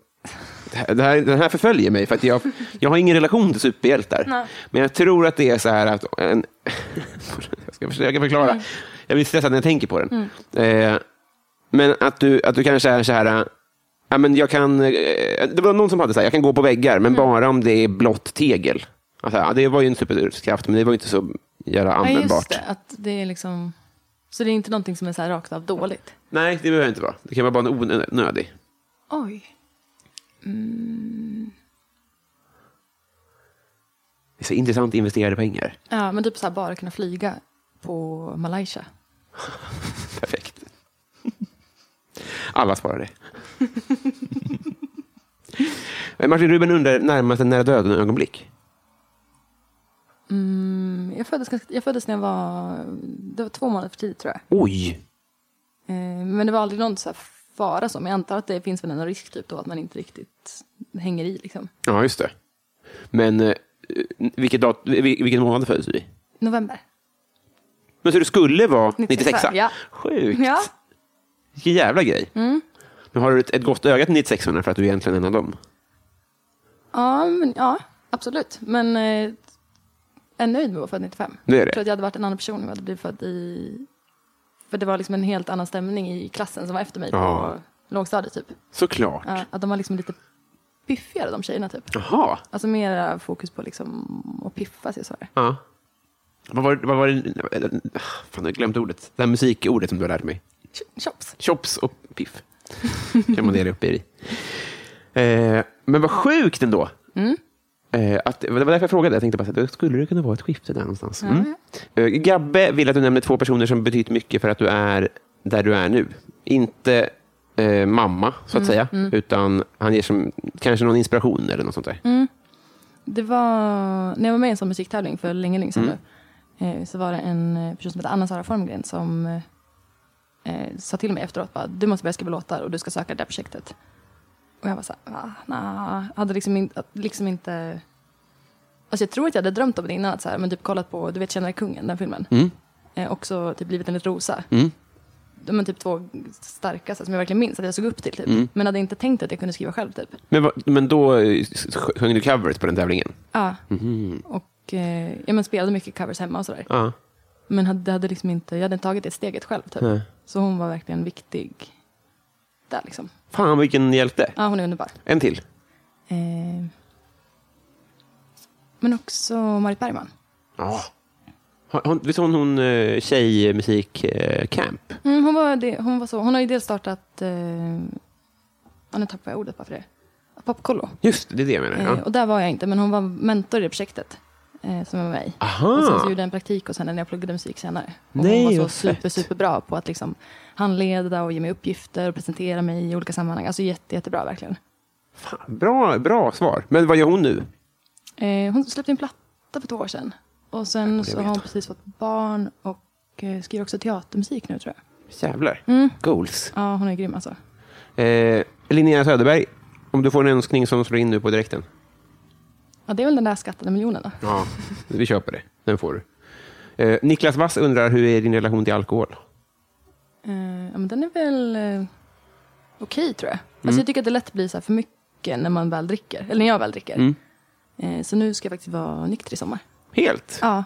Speaker 1: det här- det här, den här förföljer mig, för att jag, jag har ingen relation till superhjältar.
Speaker 2: Nej.
Speaker 1: Men jag tror att det är så här att... En, jag ska försöka förklara.
Speaker 2: Mm.
Speaker 1: Jag blir stressad när jag tänker på den. Eh, men att du, att du kanske är så här... äh, Ja, men jag kan, eh, det var någon som hade så här, jag kan gå på väggar,
Speaker 2: Mm.
Speaker 1: men bara om det är blått tegel. Alltså, ja, det var ju en superkraft, men det var ju inte så jävla
Speaker 2: Ja,
Speaker 1: användbart.
Speaker 2: just det. Att det är liksom... Så det är inte någonting som är så här rakt av dåligt.
Speaker 1: Nej, det behöver inte vara. Det kan vara bara en onödig.
Speaker 2: Oj.
Speaker 1: Det är så intressant investerade pengar.
Speaker 2: Ja, men typ så här bara kunna flyga på Malaysia.
Speaker 1: Perfekt. Alla svarar det. Men Martin Ruben undrar närmast en nära döden-ögonblick.
Speaker 2: Mm, Jag föddes, ganska- jag föddes när jag var... Det var två månader för tidigt tror jag.
Speaker 1: Oj!
Speaker 2: Eh, Men det var aldrig någon så här fara så. Men jag antar att det finns väl en risk typ då att man inte riktigt hänger i liksom.
Speaker 1: Ja, just det. Men eh, vilket dat- vil- vilken månad föddes du i?
Speaker 2: November.
Speaker 1: Men så du skulle vara 96?
Speaker 2: 96, ja.
Speaker 1: Sjukt!
Speaker 2: Ja. Mm.
Speaker 1: Vilken jävla grej. Men har du ett, ett gott öga till 96 för att du är egentligen en av dem?
Speaker 2: Ja, men, ja absolut. Men eh, är nöjd med att vara född 95.
Speaker 1: Det är
Speaker 2: Jag
Speaker 1: det.
Speaker 2: tror att jag hade varit en annan person om jag hade blivit född i... För det var liksom en helt annan stämning i klassen som var efter mig på
Speaker 1: Ja.
Speaker 2: lågstadiet typ.
Speaker 1: Såklart.
Speaker 2: Ja, att de var liksom lite piffigare de tjejerna typ.
Speaker 1: Jaha.
Speaker 2: Alltså mer fokus på liksom att piffa sig och sådär.
Speaker 1: Ja. Vad var, vad var det? Fan, jag har glömt ordet. Det här musikordet som du har lärt mig.
Speaker 2: Ch- Chops.
Speaker 1: Chops och piff kan man dela upp er i. Eh, men vad sjukt ändå. Eh, att, det var därför jag frågade. Jag tänkte bara, att det skulle det kunna vara ett skifte där någonstans? Mm. Eh, Gabbe vill att du nämner två personer som betytt mycket för att du är där du är nu. Inte eh, mamma, så att säga, utan han ger som, kanske någon inspiration eller något sånt där.
Speaker 2: Det var, när jag var med i en sån musiktävling för länge, länge sedan nu, eh, så var det en eh, person som hette Anna-Sara Formgren som eh, eh, sa till mig efteråt bara, du måste börja skriva låtar och du ska söka det där projektet. Och jag var så här, ah, nah. hade liksom, in, att- liksom inte... Alltså jag tror att jag hade drömt om det innan, att så här, men typ kollat på, du vet Tjänare kungen, den filmen. Eh, också typ Livet enligt Rosa. De är typ två starka så här, som jag verkligen minns att jag såg upp till. Typ. Men hade inte tänkt att jag kunde skriva själv typ.
Speaker 1: Men, vad- men då eh, s- s- sjöng du covers på den tävlingen?
Speaker 2: Ja. Och eh, ja, men spelade mycket covers hemma och sådär.
Speaker 1: Ja.
Speaker 2: Men hade, hade liksom inte, jag hade inte tagit det steget själv typ. Så hon var verkligen viktig där liksom.
Speaker 1: Fan, vilken hjälte.
Speaker 2: Ja, hon är underbar.
Speaker 1: En till.
Speaker 2: Eh, men också Marit Bergman.
Speaker 1: Ja. Har- Hon, visst har hon, hon eh, tjejmusik-camp?
Speaker 2: Mm, hon, var det, hon var så, hon har ju dels startat, eh, ja, nu tappar jag ordet bara för det, Popkollo.
Speaker 1: Just det, det är det jag menar.
Speaker 2: Eh,
Speaker 1: Ja.
Speaker 2: och där var jag inte, men hon var mentor i det projektet. Eh, som jag var med i.
Speaker 1: Aha.
Speaker 2: Och sen så gjorde jag en praktik hos henne när jag pluggade musik senare. Och
Speaker 1: Nej,
Speaker 2: hon var
Speaker 1: vad
Speaker 2: så
Speaker 1: fett.
Speaker 2: super, superbra på att liksom handleda och ge mig uppgifter och presentera mig i olika sammanhang. Alltså jätte, jättebra verkligen.
Speaker 1: Fan, bra, bra svar. Men vad gör hon nu?
Speaker 2: Eh, hon släppte en platta för två år sedan. Och sen så har hon precis fått barn och eh, skriver också teatermusik nu tror jag.
Speaker 1: Jävlar.
Speaker 2: Mm.
Speaker 1: Goals.
Speaker 2: Ja, hon är grym alltså.
Speaker 1: Eh, Linnea Söderberg, om du får en önskning som slår in nu på direkten.
Speaker 2: Ja, det är väl den där skattade miljonen då.
Speaker 1: Ja. Vi köper det. Den får du. Eh, Niklas Wass undrar, hur är din relation till alkohol?
Speaker 2: Eh, ja, men den är väl eh, okej, tror jag.
Speaker 1: Mm.
Speaker 2: Alltså, jag tycker att det lätt blir så här för mycket när man väl dricker. Eller när jag väl dricker.
Speaker 1: Mm.
Speaker 2: Eh, så nu ska jag faktiskt vara nykter i sommar.
Speaker 1: Helt.
Speaker 2: Ja,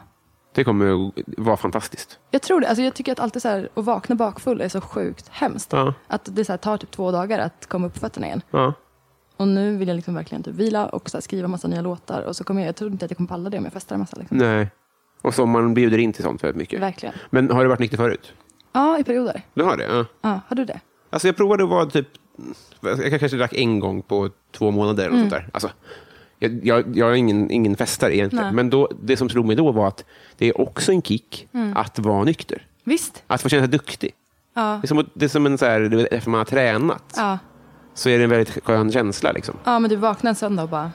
Speaker 1: Det kommer att vara fantastiskt.
Speaker 2: jag tror det. Alltså, jag tycker att alltid så här, att vakna bakfull är så sjukt hemskt.
Speaker 1: Ja.
Speaker 2: Att det så här, tar typ två dagar att komma upp på fötterna igen.
Speaker 1: Ja.
Speaker 2: Och nu vill jag liksom verkligen typ vila och så här, skriva massa nya låtar. Och så kommer jag, jag tror inte att jag kommer palla det om jag festar en massa. Liksom.
Speaker 1: Nej. Och sommaren bjuder in till sånt väldigt mycket.
Speaker 2: Verkligen.
Speaker 1: Men har du varit nykter förut?
Speaker 2: Ja, i perioder.
Speaker 1: Du har det? Ja.
Speaker 2: Ja, har du det?
Speaker 1: Alltså jag provade att vara typ... Jag kanske drack en gång på två månader. Eller
Speaker 2: Mm.
Speaker 1: sånt där. Alltså, jag, jag, jag är ingen, ingen festare egentligen.
Speaker 2: Nej.
Speaker 1: Men då, det som slog mig då var att det är också en kick
Speaker 2: Mm.
Speaker 1: att vara nykter.
Speaker 2: Visst.
Speaker 1: Att få känna sig duktig. Det, är som, att- det är som en så här, du vet, efter man har tränat
Speaker 2: Ja.
Speaker 1: så är det en väldigt skön känsla. Liksom.
Speaker 2: Ja, men du vaknade en söndag och bara,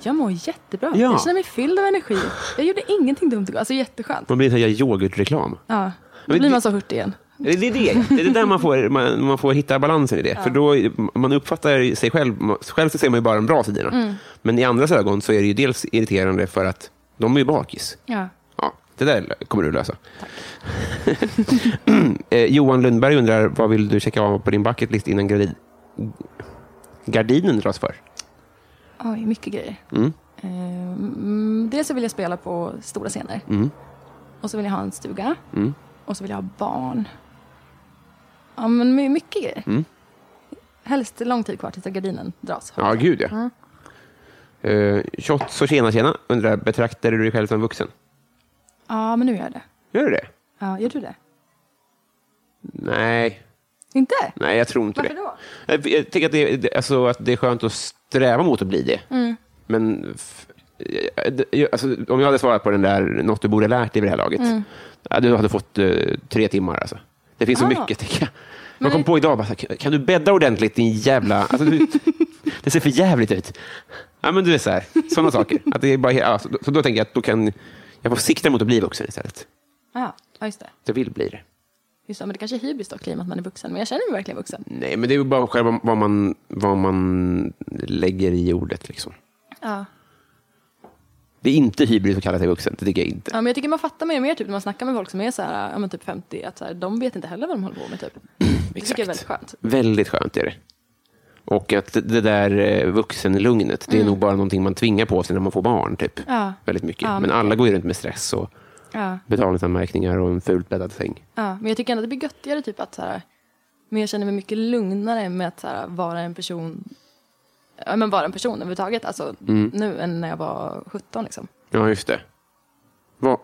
Speaker 2: jag mår jättebra.
Speaker 1: Ja.
Speaker 2: Jag känner mig fylld av energi. Jag gjorde ingenting dumt igår. Alltså jätteskönt.
Speaker 1: Man blir en sån här yoghurtreklam.
Speaker 2: Ja.
Speaker 1: Men
Speaker 2: Då blir
Speaker 1: det-
Speaker 2: man så hurtig igen.
Speaker 1: Det är det, det är där man får, man, man får hitta balansen i det. För då, man uppfattar sig själv, man- själv så ser man ju bara de bra sidorna. Men i andras ögon så är det ju dels irriterande för att de är ju bakis.
Speaker 2: Ja.
Speaker 1: Ja, det där kommer du lösa. eh, Johan Lundberg undrar, vad vill du checka av på din bucket list innan gardin, gardinen dras för?
Speaker 2: Oj, mycket grejer. Mm. Mm, dels så vill jag spela på stora scener.
Speaker 1: Mm.
Speaker 2: Och så vill jag ha en stuga. Och så vill jag ha barn. Ja, men my- mycket grejer. Mm. Helst lång tid kvar tills gardinen dras.
Speaker 1: Ja, gud ja. Mm. Eh, Shots och tjena tjena undrar, betraktar du dig själv som vuxen?
Speaker 2: Ja, men nu gör jag det.
Speaker 1: Gör du det?
Speaker 2: Ja, gör du det?
Speaker 1: Nej,
Speaker 2: Inte?
Speaker 1: nej jag tror inte
Speaker 2: Varför
Speaker 1: det.
Speaker 2: då?
Speaker 1: Jag, jag tycker att det, det- alltså, att det är skönt att sträva mot att bli det.
Speaker 2: Mm.
Speaker 1: Men f- eh, det- jag- alltså, om jag hade svarat på den där, något du borde lärt dig vid det här laget,
Speaker 2: Mm.
Speaker 1: ja, du hade fått eh, tre timmar. Alltså. Det finns
Speaker 2: Ah.
Speaker 1: så mycket, tänker jag. Jag kom på idag, bara, så här, kan du bädda ordentligt din jävla... Alltså, du, det ser för jävligt ut. Ja, men du är så här, sådana saker. Att det är bara, ja, så, så då tänker jag att då kan jag får sikta mot att bli vuxen istället.
Speaker 2: Ja, ja, just det.
Speaker 1: Jag vill bli det.
Speaker 2: Just det, men det kanske är hybris då, claim att man är vuxen. Men jag känner mig verkligen vuxen.
Speaker 1: Nej, men det är ju bara själva vad man, vad man lägger i ordet. Liksom.
Speaker 2: Ja.
Speaker 1: Det är inte hybris att kalla sig vuxen, det tycker jag inte.
Speaker 2: Ja, men jag tycker man fattar mer och mer typ, när man snackar med folk som är så här, ja, men typ 50, att så här, de vet inte heller vad de håller på med. Typ. Det tycker jag är väldigt skönt.
Speaker 1: Väldigt skönt är det. Och att det- det där eh, vuxenlugnet, det är nog bara någonting man tvingar på sig när man får barn. Typ.
Speaker 2: Mm. Ja.
Speaker 1: Väldigt mycket.
Speaker 2: Ja,
Speaker 1: men alla går ju runt med stress och
Speaker 2: Ja.
Speaker 1: betalningsanmärkningar och en fult bäddad säng.
Speaker 2: Ja, men jag tycker ändå att det blir göttigare typ att så här, men jag känner mig mycket lugnare med att så här, vara en person, ja, men vara en person överhuvudtaget, alltså nu än när jag var 17 liksom.
Speaker 1: Ja, just det. Vad?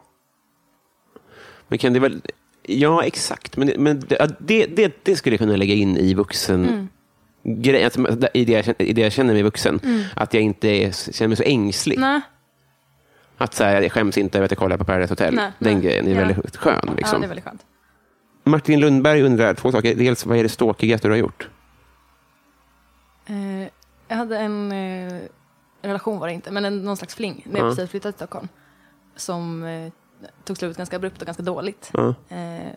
Speaker 1: Men kan det väl... Ja, exakt. Men, men det, ja, det, det, det skulle jag kunna lägga in i vuxen...
Speaker 2: Mm.
Speaker 1: Grej, att, i, det jag, känner- I det jag känner mig vuxen. Att jag inte är, känner mig så ängslig.
Speaker 2: Mm. Nej,
Speaker 1: Att så här, jag skäms inte över att jag kollar på Paradise Hotel.
Speaker 2: Nej,
Speaker 1: Den
Speaker 2: nej.
Speaker 1: grejen är
Speaker 2: Ja.
Speaker 1: väldigt skön.
Speaker 2: ja,
Speaker 1: Liksom.
Speaker 2: det är väldigt skönt.
Speaker 1: Martin Lundberg undrar två saker. Dels, vad är det ståkigaste du har gjort?
Speaker 2: Eh, jag hade en eh, relation var det inte, men en, någon slags fling när jag precis flyttade till Stockholm. Som eh, tog slut ganska abrupt och ganska dåligt. Eh,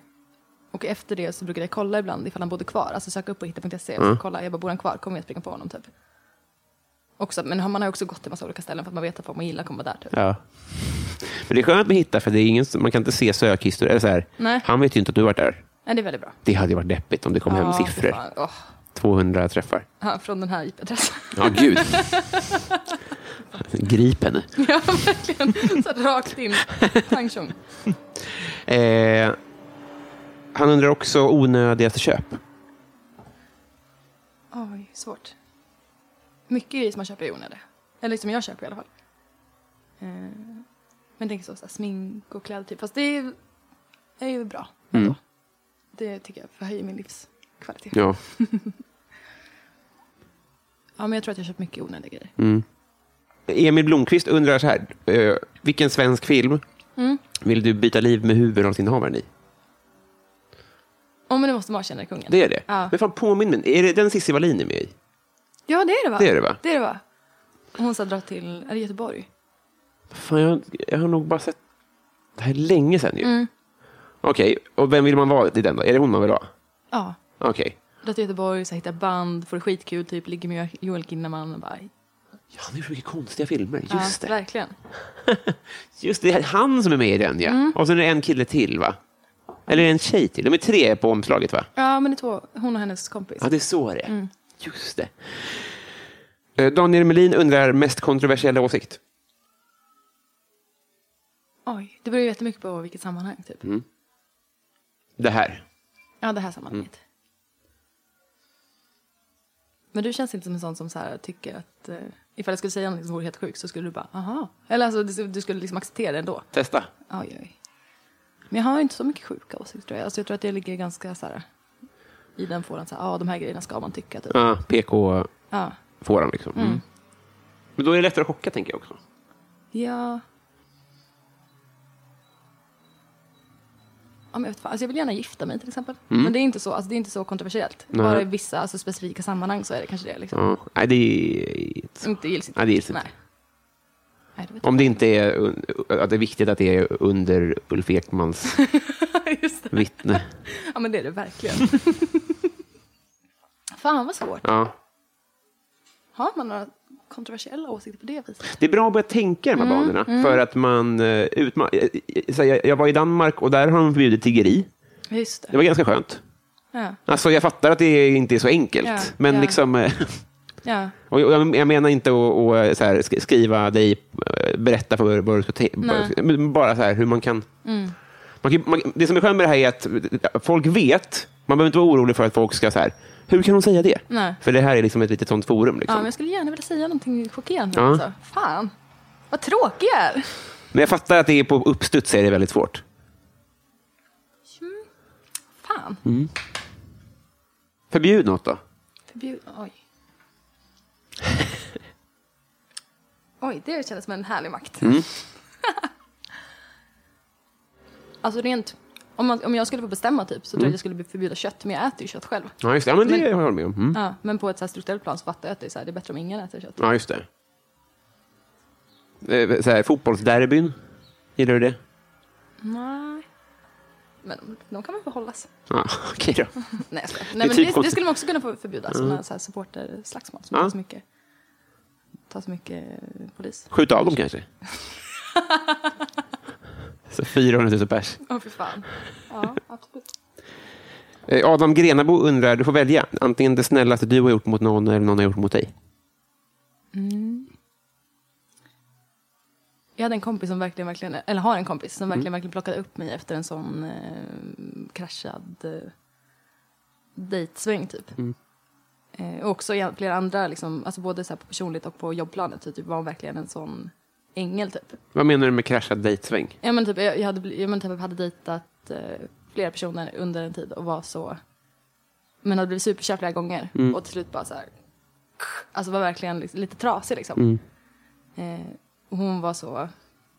Speaker 2: Och efter det så brukade jag kolla ibland ifall han bodde kvar. Alltså söka upp på hitta.se. Kolla, jag bara, bor han kvar? Kommer jag springa på honom typ? Också, men har- man har ju också gått till massa olika ställen för att man vet att vad man gillar kommer vara där. Typ.
Speaker 1: Ja. Men det är skönt med hitta, för det är ingen, man kan inte se sökhistoria. Eller så här,
Speaker 2: Nej.
Speaker 1: han vet ju inte att du har varit där.
Speaker 2: Nej, det är väldigt bra.
Speaker 1: Det hade ju varit deppigt om det kom hem
Speaker 2: Ja,
Speaker 1: siffror.
Speaker 2: fan. Åh,
Speaker 1: 200 träffar.
Speaker 2: han från den här IP-adressen.
Speaker 1: Ja, gud. Grip henne.
Speaker 2: ja, verkligen. Så här rakt in. Pang tjong.
Speaker 1: Eh, han undrar också onödigaste köp.
Speaker 2: Oj, svårt. Mycket grejer som man köper i onödan. Eller liksom jag köper i alla fall. Eh, men tänk så, så här, smink och kläder typ. Fast det är, är ju bra ändå. Det tycker jag förhöjer min livskvalitet. Ja.
Speaker 1: Mm. Ja.
Speaker 2: men jag tror att jag köpt mycket onödiga grejer.
Speaker 1: Mm. Emil Blomqvist undrar så här. Eh, vilken svensk film
Speaker 2: Mm.
Speaker 1: vill du byta liv med huvudrollsinnehavaren i?
Speaker 2: Åh men det måste vara Tjänare kungen.
Speaker 1: Det är det.
Speaker 2: Ja.
Speaker 1: Men fan, påminn mig. Är det den Cissi Wallin är med i?
Speaker 2: Ja, det är det va?
Speaker 1: Det är det, va?
Speaker 2: Det är det va? Hon ska dra till, är det Göteborg?
Speaker 1: Fan, jag, jag har nog bara sett... Det här är länge sedan ju.
Speaker 2: Mm.
Speaker 1: Okej, och vem vill man vara i den då? Är det hon man vill vara?
Speaker 2: Ja.
Speaker 1: Okej.
Speaker 2: Dra till Göteborg, så här, hitta band, får det skitkul, typ ligger med Joel Kinnaman och bara...
Speaker 1: Ja, det är så mycket konstiga filmer.
Speaker 2: Ja,
Speaker 1: Just det.
Speaker 2: Verkligen.
Speaker 1: Just det, det är han som är med i den ja. Och sen är det en kille till va? Eller en tjej till. De är tre på omslaget va?
Speaker 2: Ja, men det är två, hon och hennes kompis.
Speaker 1: Ja, det är så det är. Just det. Eh, Daniel Melin undrar mest kontroversiella åsikt.
Speaker 2: Oj, det beror ju jättemycket på vilket sammanhang typ.
Speaker 1: Det här.
Speaker 2: Ja, det här sammanhanget. Mm. Men du känns inte som en sån som så här, tycker att eh, ifall jag skulle säga något som vore helt sjukt så skulle du bara aha. Eller alltså du, du skulle liksom acceptera det ändå.
Speaker 1: Testa.
Speaker 2: Oj, oj. Men jag har inte så mycket sjuka åsikter tror jag. Alltså, jag tror att jag ligger ganska så här i den fåran så här, ja de här grejerna ska man tycka typ.
Speaker 1: Ja, PK-fåran
Speaker 2: Ja.
Speaker 1: liksom. Men då är det lättare att chocka tänker jag också.
Speaker 2: Ja. Ja, men jag, vet fan. Alltså jag vill gärna gifta mig till exempel. Men det är inte så, alltså det är inte så kontroversiellt.
Speaker 1: Mm. Nej.
Speaker 2: Bara i vissa alltså, specifika sammanhang så är det kanske det. Liksom.
Speaker 1: Ja. Nej, det är...
Speaker 2: Inte gills inte.
Speaker 1: Nej, det gills inte.
Speaker 2: Nej. Nej, det vet
Speaker 1: Om det inte är, un- att det är viktigt att det är under Ulf Ekmans
Speaker 2: jag. Just det.
Speaker 1: vittne.
Speaker 2: Ja, men det är det verkligen. Fan vad svårt.
Speaker 1: Ja.
Speaker 2: Har man några kontroversiella åsikter på det viset?
Speaker 1: Det är bra att börja tänka i de här
Speaker 2: Mm,
Speaker 1: banorna. För att man, eh, utma- eh, eh, så jag, jag var i Danmark och där har de förbjudit tiggeri.
Speaker 2: Just
Speaker 1: Det
Speaker 2: det.
Speaker 1: var ganska skönt.
Speaker 2: Ja.
Speaker 1: Alltså, jag fattar att det inte är så enkelt.
Speaker 2: Ja,
Speaker 1: men
Speaker 2: ja.
Speaker 1: liksom, eh,
Speaker 2: ja.
Speaker 1: och jag, jag menar inte att och, eh, så här, sk- skriva dig, eh, berätta för vad du ska tänka.
Speaker 2: Nej. Mm.
Speaker 1: Men Bara så här hur man kan... Man kan man, det som är skönt med det här är att folk vet. Man behöver inte vara orolig för att folk ska så här, hur kan hon säga det?
Speaker 2: Nej.
Speaker 1: För det här är liksom ett litet sånt forum.
Speaker 2: Ja,
Speaker 1: Liksom.
Speaker 2: men jag skulle gärna vilja säga någonting chockerande.
Speaker 1: Ja.
Speaker 2: Alltså. Fan, vad tråkig jag är.
Speaker 1: Men jag fattar att det är på uppstuds är det väldigt svårt.
Speaker 2: Fan,
Speaker 1: Förbjud något då.
Speaker 2: förbjud... Oj. Oj, det kändes som en härlig makt.
Speaker 1: Mm.
Speaker 2: alltså rent... Om, man, om jag skulle få bestämma typ
Speaker 1: Mm.
Speaker 2: så tror jag att jag skulle förbjuda kött, men jag äter ju kött själv.
Speaker 1: Ja, just det. Ja, men det håller jag med om. Mm.
Speaker 2: Ja, men på ett så här strukturellt plan så fattar jag att det är, så här, det är bättre om ingen äter kött.
Speaker 1: Ja, just det. Eh, Så här, fotbollsderbyn, gillar du det?
Speaker 2: Nej. Men de, de kan väl behållas?
Speaker 1: Ja, okej då.
Speaker 2: Nej, jag skojar. Nej,
Speaker 1: typ
Speaker 2: men det, det
Speaker 1: konstigt. Mm.
Speaker 2: skulle man också kunna få förbjuda. Sådana så här supporterslagsmål som
Speaker 1: Ja.
Speaker 2: tar så mycket, tar så mycket eh, polis.
Speaker 1: Skjut av dem kanske. Så 400 000 pers.
Speaker 2: Åh, för fan. Ja, absolut.
Speaker 1: Eh, Adam Grenabo undrar, du får välja. Antingen det snällaste du har gjort mot någon eller någon har gjort mot dig.
Speaker 2: Jag hade en kompis som verkligen, verkligen, eller har en kompis som verkligen, verkligen plockade upp mig efter en sån eh, kraschad eh, dejtsväng typ. Eh, och också i flera andra, liksom, alltså både så här på personligt och på jobbplanet, så typ var hon verkligen en sån ängel typ.
Speaker 1: Vad menar du med kraschad dejtsväng?
Speaker 2: Ja men typ, jag, jag, hade, bli- jag men, typ, hade dejtat eh, flera personer under en tid och var så, men hade blivit superkär flera gånger och till slut bara så här, alltså var verkligen liksom, lite trasig liksom. Eh, och hon var så,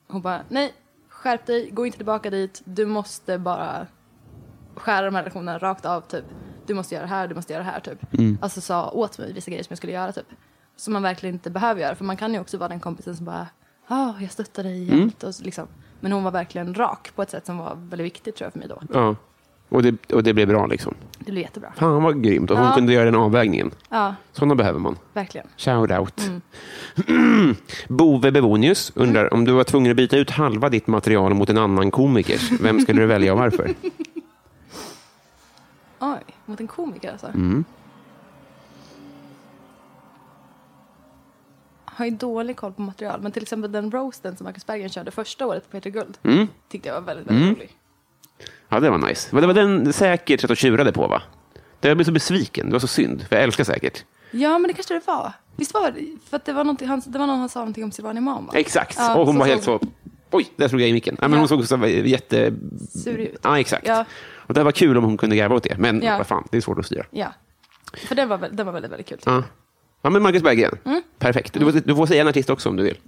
Speaker 2: hon bara, nej, skärp dig, gå inte tillbaka dit, du måste bara skära de här relationerna rakt av typ. Du måste göra det här, du måste göra det här typ. Alltså sa åt mig vissa grejer som jag skulle göra typ. Som man verkligen inte behöver göra för man kan ju också vara den kompisen som bara, ja, jag stöttar dig i allt och så, liksom. Men hon var verkligen rak på ett sätt som var väldigt viktigt tror jag för mig då.
Speaker 1: Ja. Och det, och det blev bra liksom.
Speaker 2: Det blir jättebra.
Speaker 1: Fan vad grymt. Och hon
Speaker 2: Ja.
Speaker 1: kunde göra den avvägningen.
Speaker 2: Ja,
Speaker 1: Sådana behöver man.
Speaker 2: verkligen.
Speaker 1: Shout out.
Speaker 2: Mm.
Speaker 1: Bove Bebonius undrar om du var tvungen att byta ut halva ditt material mot en annan komikers. Vem skulle du välja och varför?
Speaker 2: Oj, mot en komiker alltså. Har ju dålig koll på material, men till exempel den roasten som Marcus Berggren körde första året på Peter Guld tyckte jag var väldigt, väldigt rolig.
Speaker 1: Ja, det var nice. Men det var den säkert att de tjurade på, va? Det- Jag blev så besviken. Det var så synd, för jag älskar säkert.
Speaker 2: Ja, men det kanske det var. Visst var det? För att det var, någonting- han, det var någon han sa någonting om Silvana Imam, va?
Speaker 1: Exakt.
Speaker 2: Ja,
Speaker 1: och hon
Speaker 2: så
Speaker 1: var helt så...
Speaker 2: såg-
Speaker 1: Oj, där slog jag i micken. Ja, men
Speaker 2: Ja.
Speaker 1: Hon såg så här jätte...
Speaker 2: Sur ut.
Speaker 1: Ja, exakt.
Speaker 2: Ja.
Speaker 1: Och det var kul om hon kunde garva åt det, men
Speaker 2: Ja.
Speaker 1: vad fan, det är svårt att styra.
Speaker 2: Ja. För den var, väl- den var väldigt, väldigt kul. tycker
Speaker 1: Ja, ja men Marcus Berggren.
Speaker 2: Mm.
Speaker 1: Perfekt. Du, får- du får säga en artist också om du vill.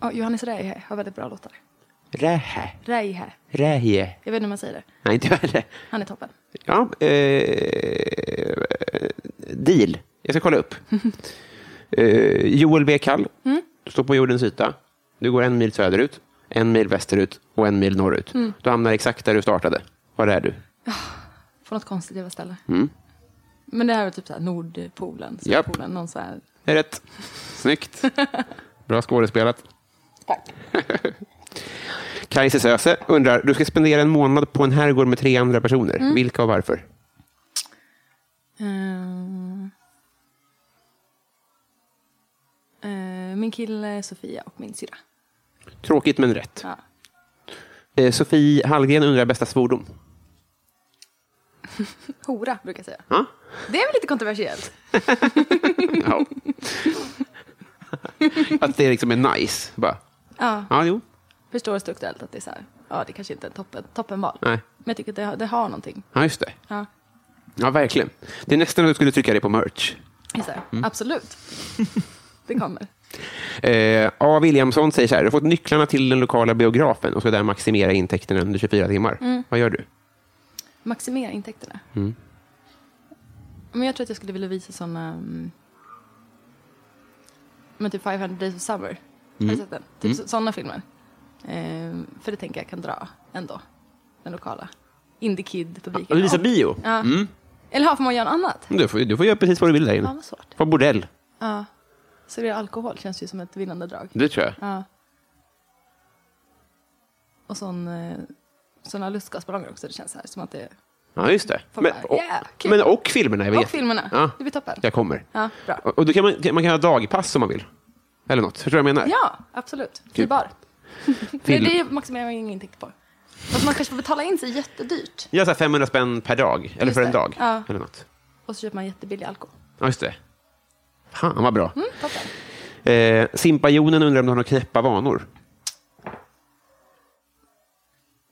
Speaker 2: jag. Ja, Johannes Reihe har väldigt bra låtar.
Speaker 1: Rähä.
Speaker 2: Reihe.
Speaker 1: Rähje.
Speaker 2: Jag vet inte hur man säger det.
Speaker 1: Nej, inte värre.
Speaker 2: Han är toppen.
Speaker 1: Ja, eh, deal. Jag ska kolla upp. eh, Joel B. Kall. Du står på jordens yta. Du går en mil söderut, en mil västerut och en mil norrut. Du hamnar exakt där du startade. Var är du?
Speaker 2: På något konstigt jävla ställe. Men det här var typ så här Nordpolen,
Speaker 1: Mm. Japp.
Speaker 2: Sydpolen, någon så här.
Speaker 1: Det är rätt. Snyggt. Bra skådespelat. Kajse Söse undrar, du ska spendera en månad på en herrgård med tre andra personer. Vilka och varför?
Speaker 2: Ehm. Eh, min kille Sofia och min syrra.
Speaker 1: Tråkigt men rätt.
Speaker 2: Ja.
Speaker 1: Eh, Sofie Hallgren undrar bästa svordom.
Speaker 2: Hora brukar jag säga.
Speaker 1: Ja.
Speaker 2: Det är väl lite kontroversiellt?
Speaker 1: Ja. att det liksom är nice. Bara.
Speaker 2: Ja.
Speaker 1: Ja, jo.
Speaker 2: Förstår strukturellt att det är så här. Ja, det kanske inte är toppen, toppenval.
Speaker 1: Nej.
Speaker 2: Men jag tycker att det har, det har någonting.
Speaker 1: Ja, just det.
Speaker 2: Ja.
Speaker 1: Ja, verkligen. Det är nästan att du skulle trycka dig på merch.
Speaker 2: Just det. Absolut. Det kommer.
Speaker 1: Eh, A. Williamson säger så här, du har fått nycklarna till den lokala biografen och ska där maximera intäkterna under 24 timmar.
Speaker 2: Mm.
Speaker 1: Vad gör du?
Speaker 2: Maximera intäkterna. Men jag tror att jag skulle vilja visa såna... mm, Men typ 500 Days of Summer. Har du sett den? Typ mm. sådana filmer. Ehm, för det tänker jag kan dra ändå. Den lokala. Indie Kid-publiken. Och-
Speaker 1: bio?
Speaker 2: Ja. Eller har får man göra något annat?
Speaker 1: Du får, du får göra precis vad du vill där
Speaker 2: Ja,
Speaker 1: inne.
Speaker 2: vad svårt.
Speaker 1: På bordell.
Speaker 2: Servera alkohol känns ju som ett vinnande drag.
Speaker 1: Det tror jag.
Speaker 2: Ja. Och sån, eh, såna lustgasballonger också. Det känns så här som att det...
Speaker 1: Ja, just det.
Speaker 2: Får
Speaker 1: Men,
Speaker 2: bara,
Speaker 1: och,
Speaker 2: yeah, kul.
Speaker 1: men och filmerna. är väl
Speaker 2: Och
Speaker 1: jätte-
Speaker 2: filmerna.
Speaker 1: Ja.
Speaker 2: Det blir toppen.
Speaker 1: Jag kommer.
Speaker 2: Ja, bra.
Speaker 1: Och och då kan man, man kan ha dagpass om man vill. Eller något. Förstår du vad jag menar?
Speaker 2: Ja, absolut.
Speaker 1: Kul.
Speaker 2: Fribar. Det,
Speaker 1: Film.
Speaker 2: det är maximerar man ingen intäkt på. Fast man kanske får betala in sig jättedyrt
Speaker 1: Ja, så här 500 spänn per dag. Eller
Speaker 2: Just
Speaker 1: för en
Speaker 2: det.
Speaker 1: dag.
Speaker 2: Ja.
Speaker 1: Eller något.
Speaker 2: och så köper man jättebillig alkohol. Mm,
Speaker 1: Ja, just det. Fan, vad bra.
Speaker 2: Toppen. Mm.
Speaker 1: Eh, Simpajonen undrar om du har några knäppa vanor.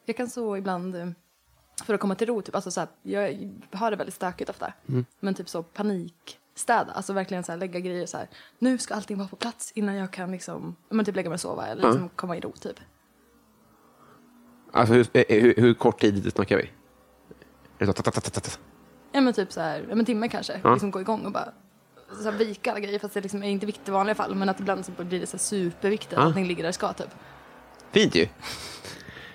Speaker 2: Jag kan så ibland, eh, för att komma till ro, typ, alltså så här, jag har det väldigt stökigt ofta,
Speaker 1: Mm.
Speaker 2: men typ så panikstäda, alltså verkligen så här, lägga grejer så här, nu ska allting vara på plats innan jag kan liksom, men typ lägga mig och sova eller liksom komma i ro typ.
Speaker 1: Alltså, hur, eh, hur, hur kort tid snackar vi? Är det så, ta, ta, ta, ta, ta.
Speaker 2: Ja men typ så här, ja, men timme kanske, liksom gå igång och bara så här, vika alla grejer, fast det liksom är inte viktigt i vanliga fall, men att ibland så blir det så här superviktigt att allting ligger där det ska typ.
Speaker 1: Fint ju.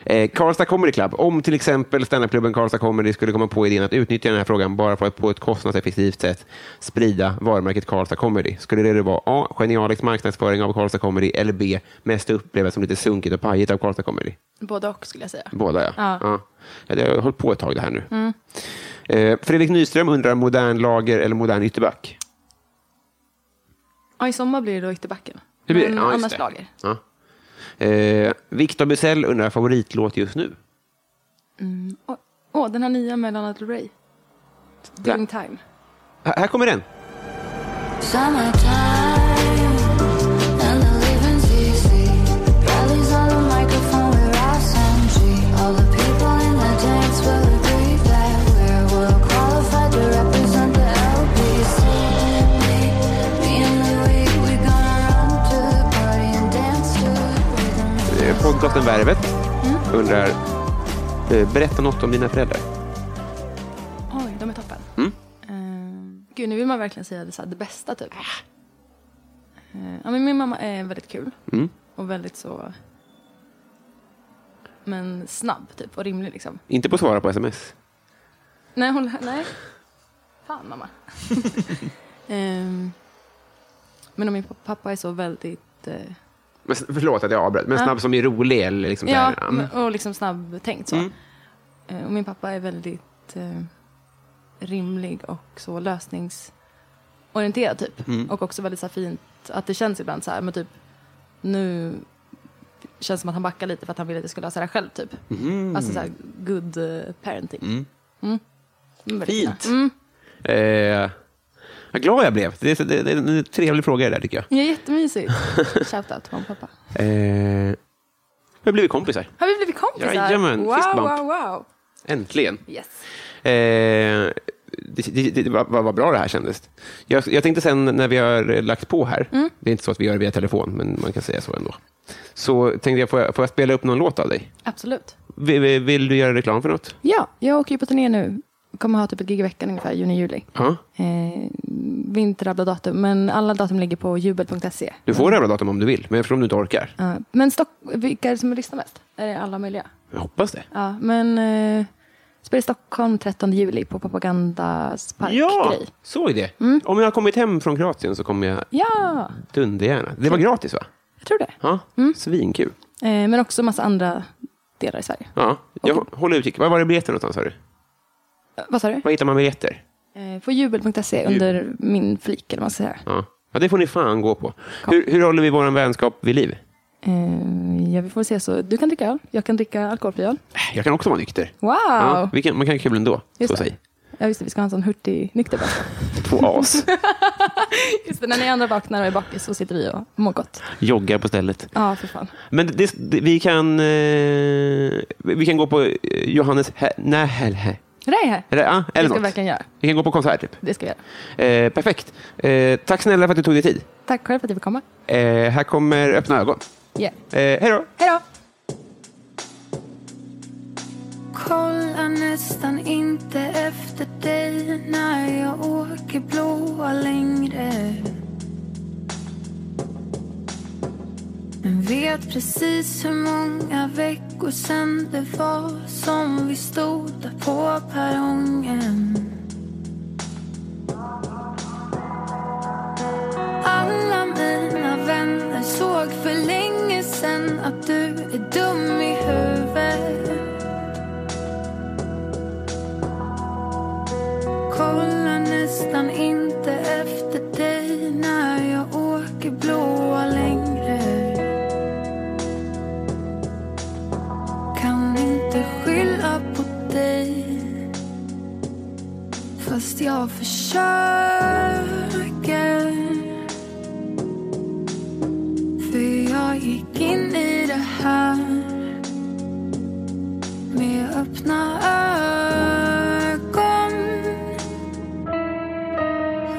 Speaker 1: Eh, Karlstad Comedy Club. Om till exempel standupklubben Karlstad Comedy skulle komma på idén att utnyttja den här frågan bara för att på ett kostnadseffektivt sätt sprida varumärket Karlstad Comedy. Skulle det då vara A. Genialisk marknadsföring av Karlstad Comedy eller B. Mest upplevas som lite sunkigt och pajigt av Karlstad Comedy?
Speaker 2: Både och skulle jag säga.
Speaker 1: Båda, ja.
Speaker 2: Ja.
Speaker 1: ja. ja det har hållit på ett tag det här nu. Eh, Fredrik Nyström undrar modern lager eller modern ytterback?
Speaker 2: Mm, Ja, i sommar blir det då ytterbacken.
Speaker 1: Det blir det.
Speaker 2: Men
Speaker 1: Ja, just
Speaker 2: annars
Speaker 1: det.
Speaker 2: lager.
Speaker 1: Ja. Eh, Victor Bysell undrar favoritlåt just nu.
Speaker 2: Åh, åh, den här nya med Lana Del Rey. Doing time.
Speaker 1: Här här kommer den.
Speaker 5: Summertime and the living's easy. Rallies on the microphone with Ross and G. All the people in the dance will agree that we're well qualified to represent the LBC. Me, me and Louis, we're gonna run to the party and dance to the rhythm.
Speaker 1: Eh, Podcasten Värvet
Speaker 2: Mm.
Speaker 1: undrar eh, Berätta något om dina föräldrar.
Speaker 2: Oj, de är toppen.
Speaker 1: Mm.
Speaker 2: Eh, gud, nu vill man verkligen säga det, så här, det bästa typ.
Speaker 1: Ah. Mm.
Speaker 2: Eh, ja, men min mamma är väldigt kul. Och väldigt så... men snabb typ och rimlig liksom.
Speaker 1: Inte på svara på sms.
Speaker 2: Nej, hon, nej. Fan mamma. Ehm, men om min pappa är så väldigt eh,
Speaker 1: Men, s- förlåt att jag avbröt, men
Speaker 2: Ja.
Speaker 1: snabb som är rolig eller liksom så
Speaker 2: Ja,
Speaker 1: här.
Speaker 2: men- och liksom snabbtänkt så. Eh, Och min pappa är väldigt eh, rimlig och så lösningsorienterad typ. Och också väldigt så här fint, att det känns ibland så här, men typ nu känns det som att han backar lite för att han ville att jag skulle lösa det här själv typ. Alltså så här good eh, parenting. Mm. Mm, väldigt fina.
Speaker 1: Fint. Eh, vad glad jag blev. Det är, det, det är en trevlig fråga det där tycker jag.
Speaker 2: Ja, jättemysigt. Shoutout till mamma och pappa.
Speaker 1: Eh, vi har blivit kompisar.
Speaker 2: Har vi blivit kompisar?
Speaker 1: Jajamän,
Speaker 2: wow,
Speaker 1: fistbump.
Speaker 2: wow, wow.
Speaker 1: Äntligen.
Speaker 2: Yes.
Speaker 1: Eh, det, det, det, vad, vad bra det här kändes. Jag, jag tänkte sen när vi har lagt på här, det är inte så att vi gör det via telefon, men man kan säga så ändå. Så tänkte jag, får jag, får jag spela upp någon låt av dig?
Speaker 2: Absolut.
Speaker 1: Vill, vill- vill du göra reklam för något?
Speaker 2: Ja, jag åker ju på turné nu. Kommer ha typ ett gig i veckan ungefär, juni-juli.
Speaker 1: Ja.
Speaker 2: Eh, vi inte rabbla datum, men alla datum ligger på jubel.se.
Speaker 1: Du får röra datum om du vill, men jag förstår om du inte orkar.
Speaker 2: Ja, men Stock- vilka är det som lyssnar mest? Är det alla möjliga?
Speaker 1: Jag hoppas det.
Speaker 2: Ja, men eh, spelar i Stockholm 13 juli på Propagandas parkgrej.
Speaker 1: Ja, såg det. Om jag har kommit hem från Kroatien så kommer jag
Speaker 2: ja,
Speaker 1: dundergärna. Det var gratis va?
Speaker 2: jag tror det.
Speaker 1: Ja, svinkul.
Speaker 2: Eh, men också massa andra delar i Sverige.
Speaker 1: Ja, jag håller utkik. Var var det biljetter någonstans sa du?
Speaker 2: Eh, vad sa du?
Speaker 1: Var hittar man biljetter?
Speaker 2: Eh, på jubel.se under min flik, eller vad man ska säga.
Speaker 1: Ja. ja, det får ni fan gå på. Hur, hur håller vi vår vänskap vid liv?
Speaker 2: Eh, ja, vi får se så. Du kan dricka öl, jag kan dricka alkoholfri öl.
Speaker 1: Jag kan också vara nykter.
Speaker 2: Wow!
Speaker 1: Ja, vi kan, man kan ha kul ändå.
Speaker 2: Just
Speaker 1: så
Speaker 2: det.
Speaker 1: säg.
Speaker 2: Ja, just det, vi ska ha en sån hurtig nykter bara.
Speaker 1: Två as.
Speaker 2: Just det, när ni andra vaknar och är bakis så sitter vi och mår gott.
Speaker 1: Joggar på stället.
Speaker 2: Ja, för fan.
Speaker 1: Men det, det, vi, kan, eh, vi kan gå på eh, Johannes... Hä- Nej, hä- hä-
Speaker 2: Det där är här.
Speaker 1: eller, ja,
Speaker 2: Det
Speaker 1: eller
Speaker 2: ska vi
Speaker 1: något.
Speaker 2: verkligen göra.
Speaker 1: Vi kan gå på konsert, typ.
Speaker 2: Det ska vi göra.
Speaker 1: Eh, perfekt. Eh, tack snälla för att du tog dig tid.
Speaker 2: Tack själv för att du fick komma.
Speaker 1: Eh, här kommer Öppna ögon.
Speaker 2: Yeah.
Speaker 1: Eh, hej då!
Speaker 2: Hej då!
Speaker 5: Kollar nästan inte efter dig när jag åker blåa längre. Men vet precis hur många veckor sen det var som vi stod där på perrongen. Alla mina vänner såg för länge sen att du är dum i huvudet. Kollar nästan inte efter dig när jag åker blåa längre. Kan inte skylla på dig. Fast jag försöker. För jag gick in i det här med öppna ögon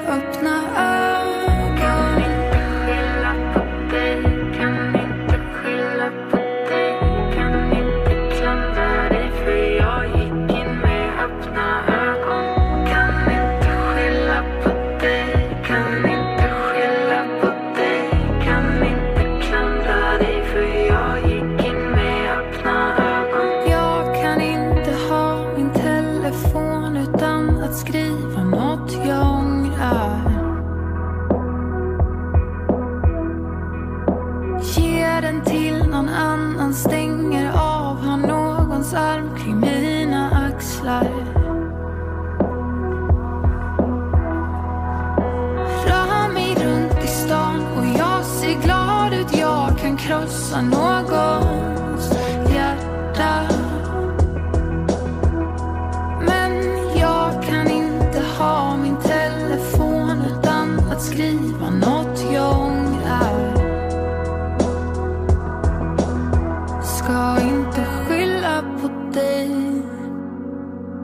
Speaker 5: Öppna ögon Kan inte skylla på dig Kan inte klandra dig För jag gick in med öppna ögon Kan inte skylla på dig Kan inte skylla på dig Kan inte klandra dig För jag gick in med öppna ögon Jag kan inte ha min telefon utan att skriva något jag ångrar Ge den till någon annan, stänger av, har någons arm kring mina axlar Rör mig runt i stan och jag ser glad ut, jag kan krossa någons hjärta men jag kan inte ha min telefon utan att skriva något jag ångrar. Ska inte skylla på dig.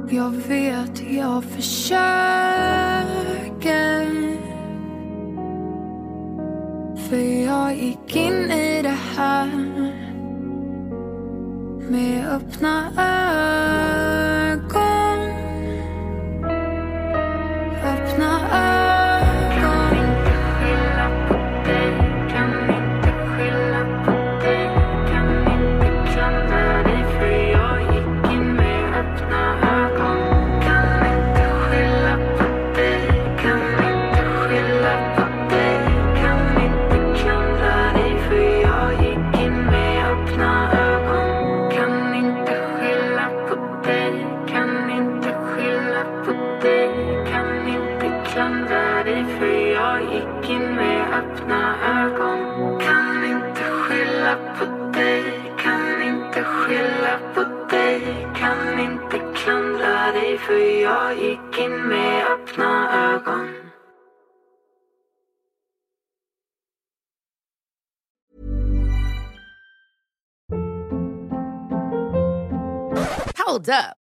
Speaker 5: Jag vet, jag försöker. För jag gick in i det här med öppna ögon Öppna ögon Kan inte skylla på dig Kan inte skylla på dig Kan inte klandra dig för
Speaker 6: skylla på dig, kan inte skylla på dig Kan inte klandra dig för jag gick in med öppna ögon
Speaker 7: Hold up.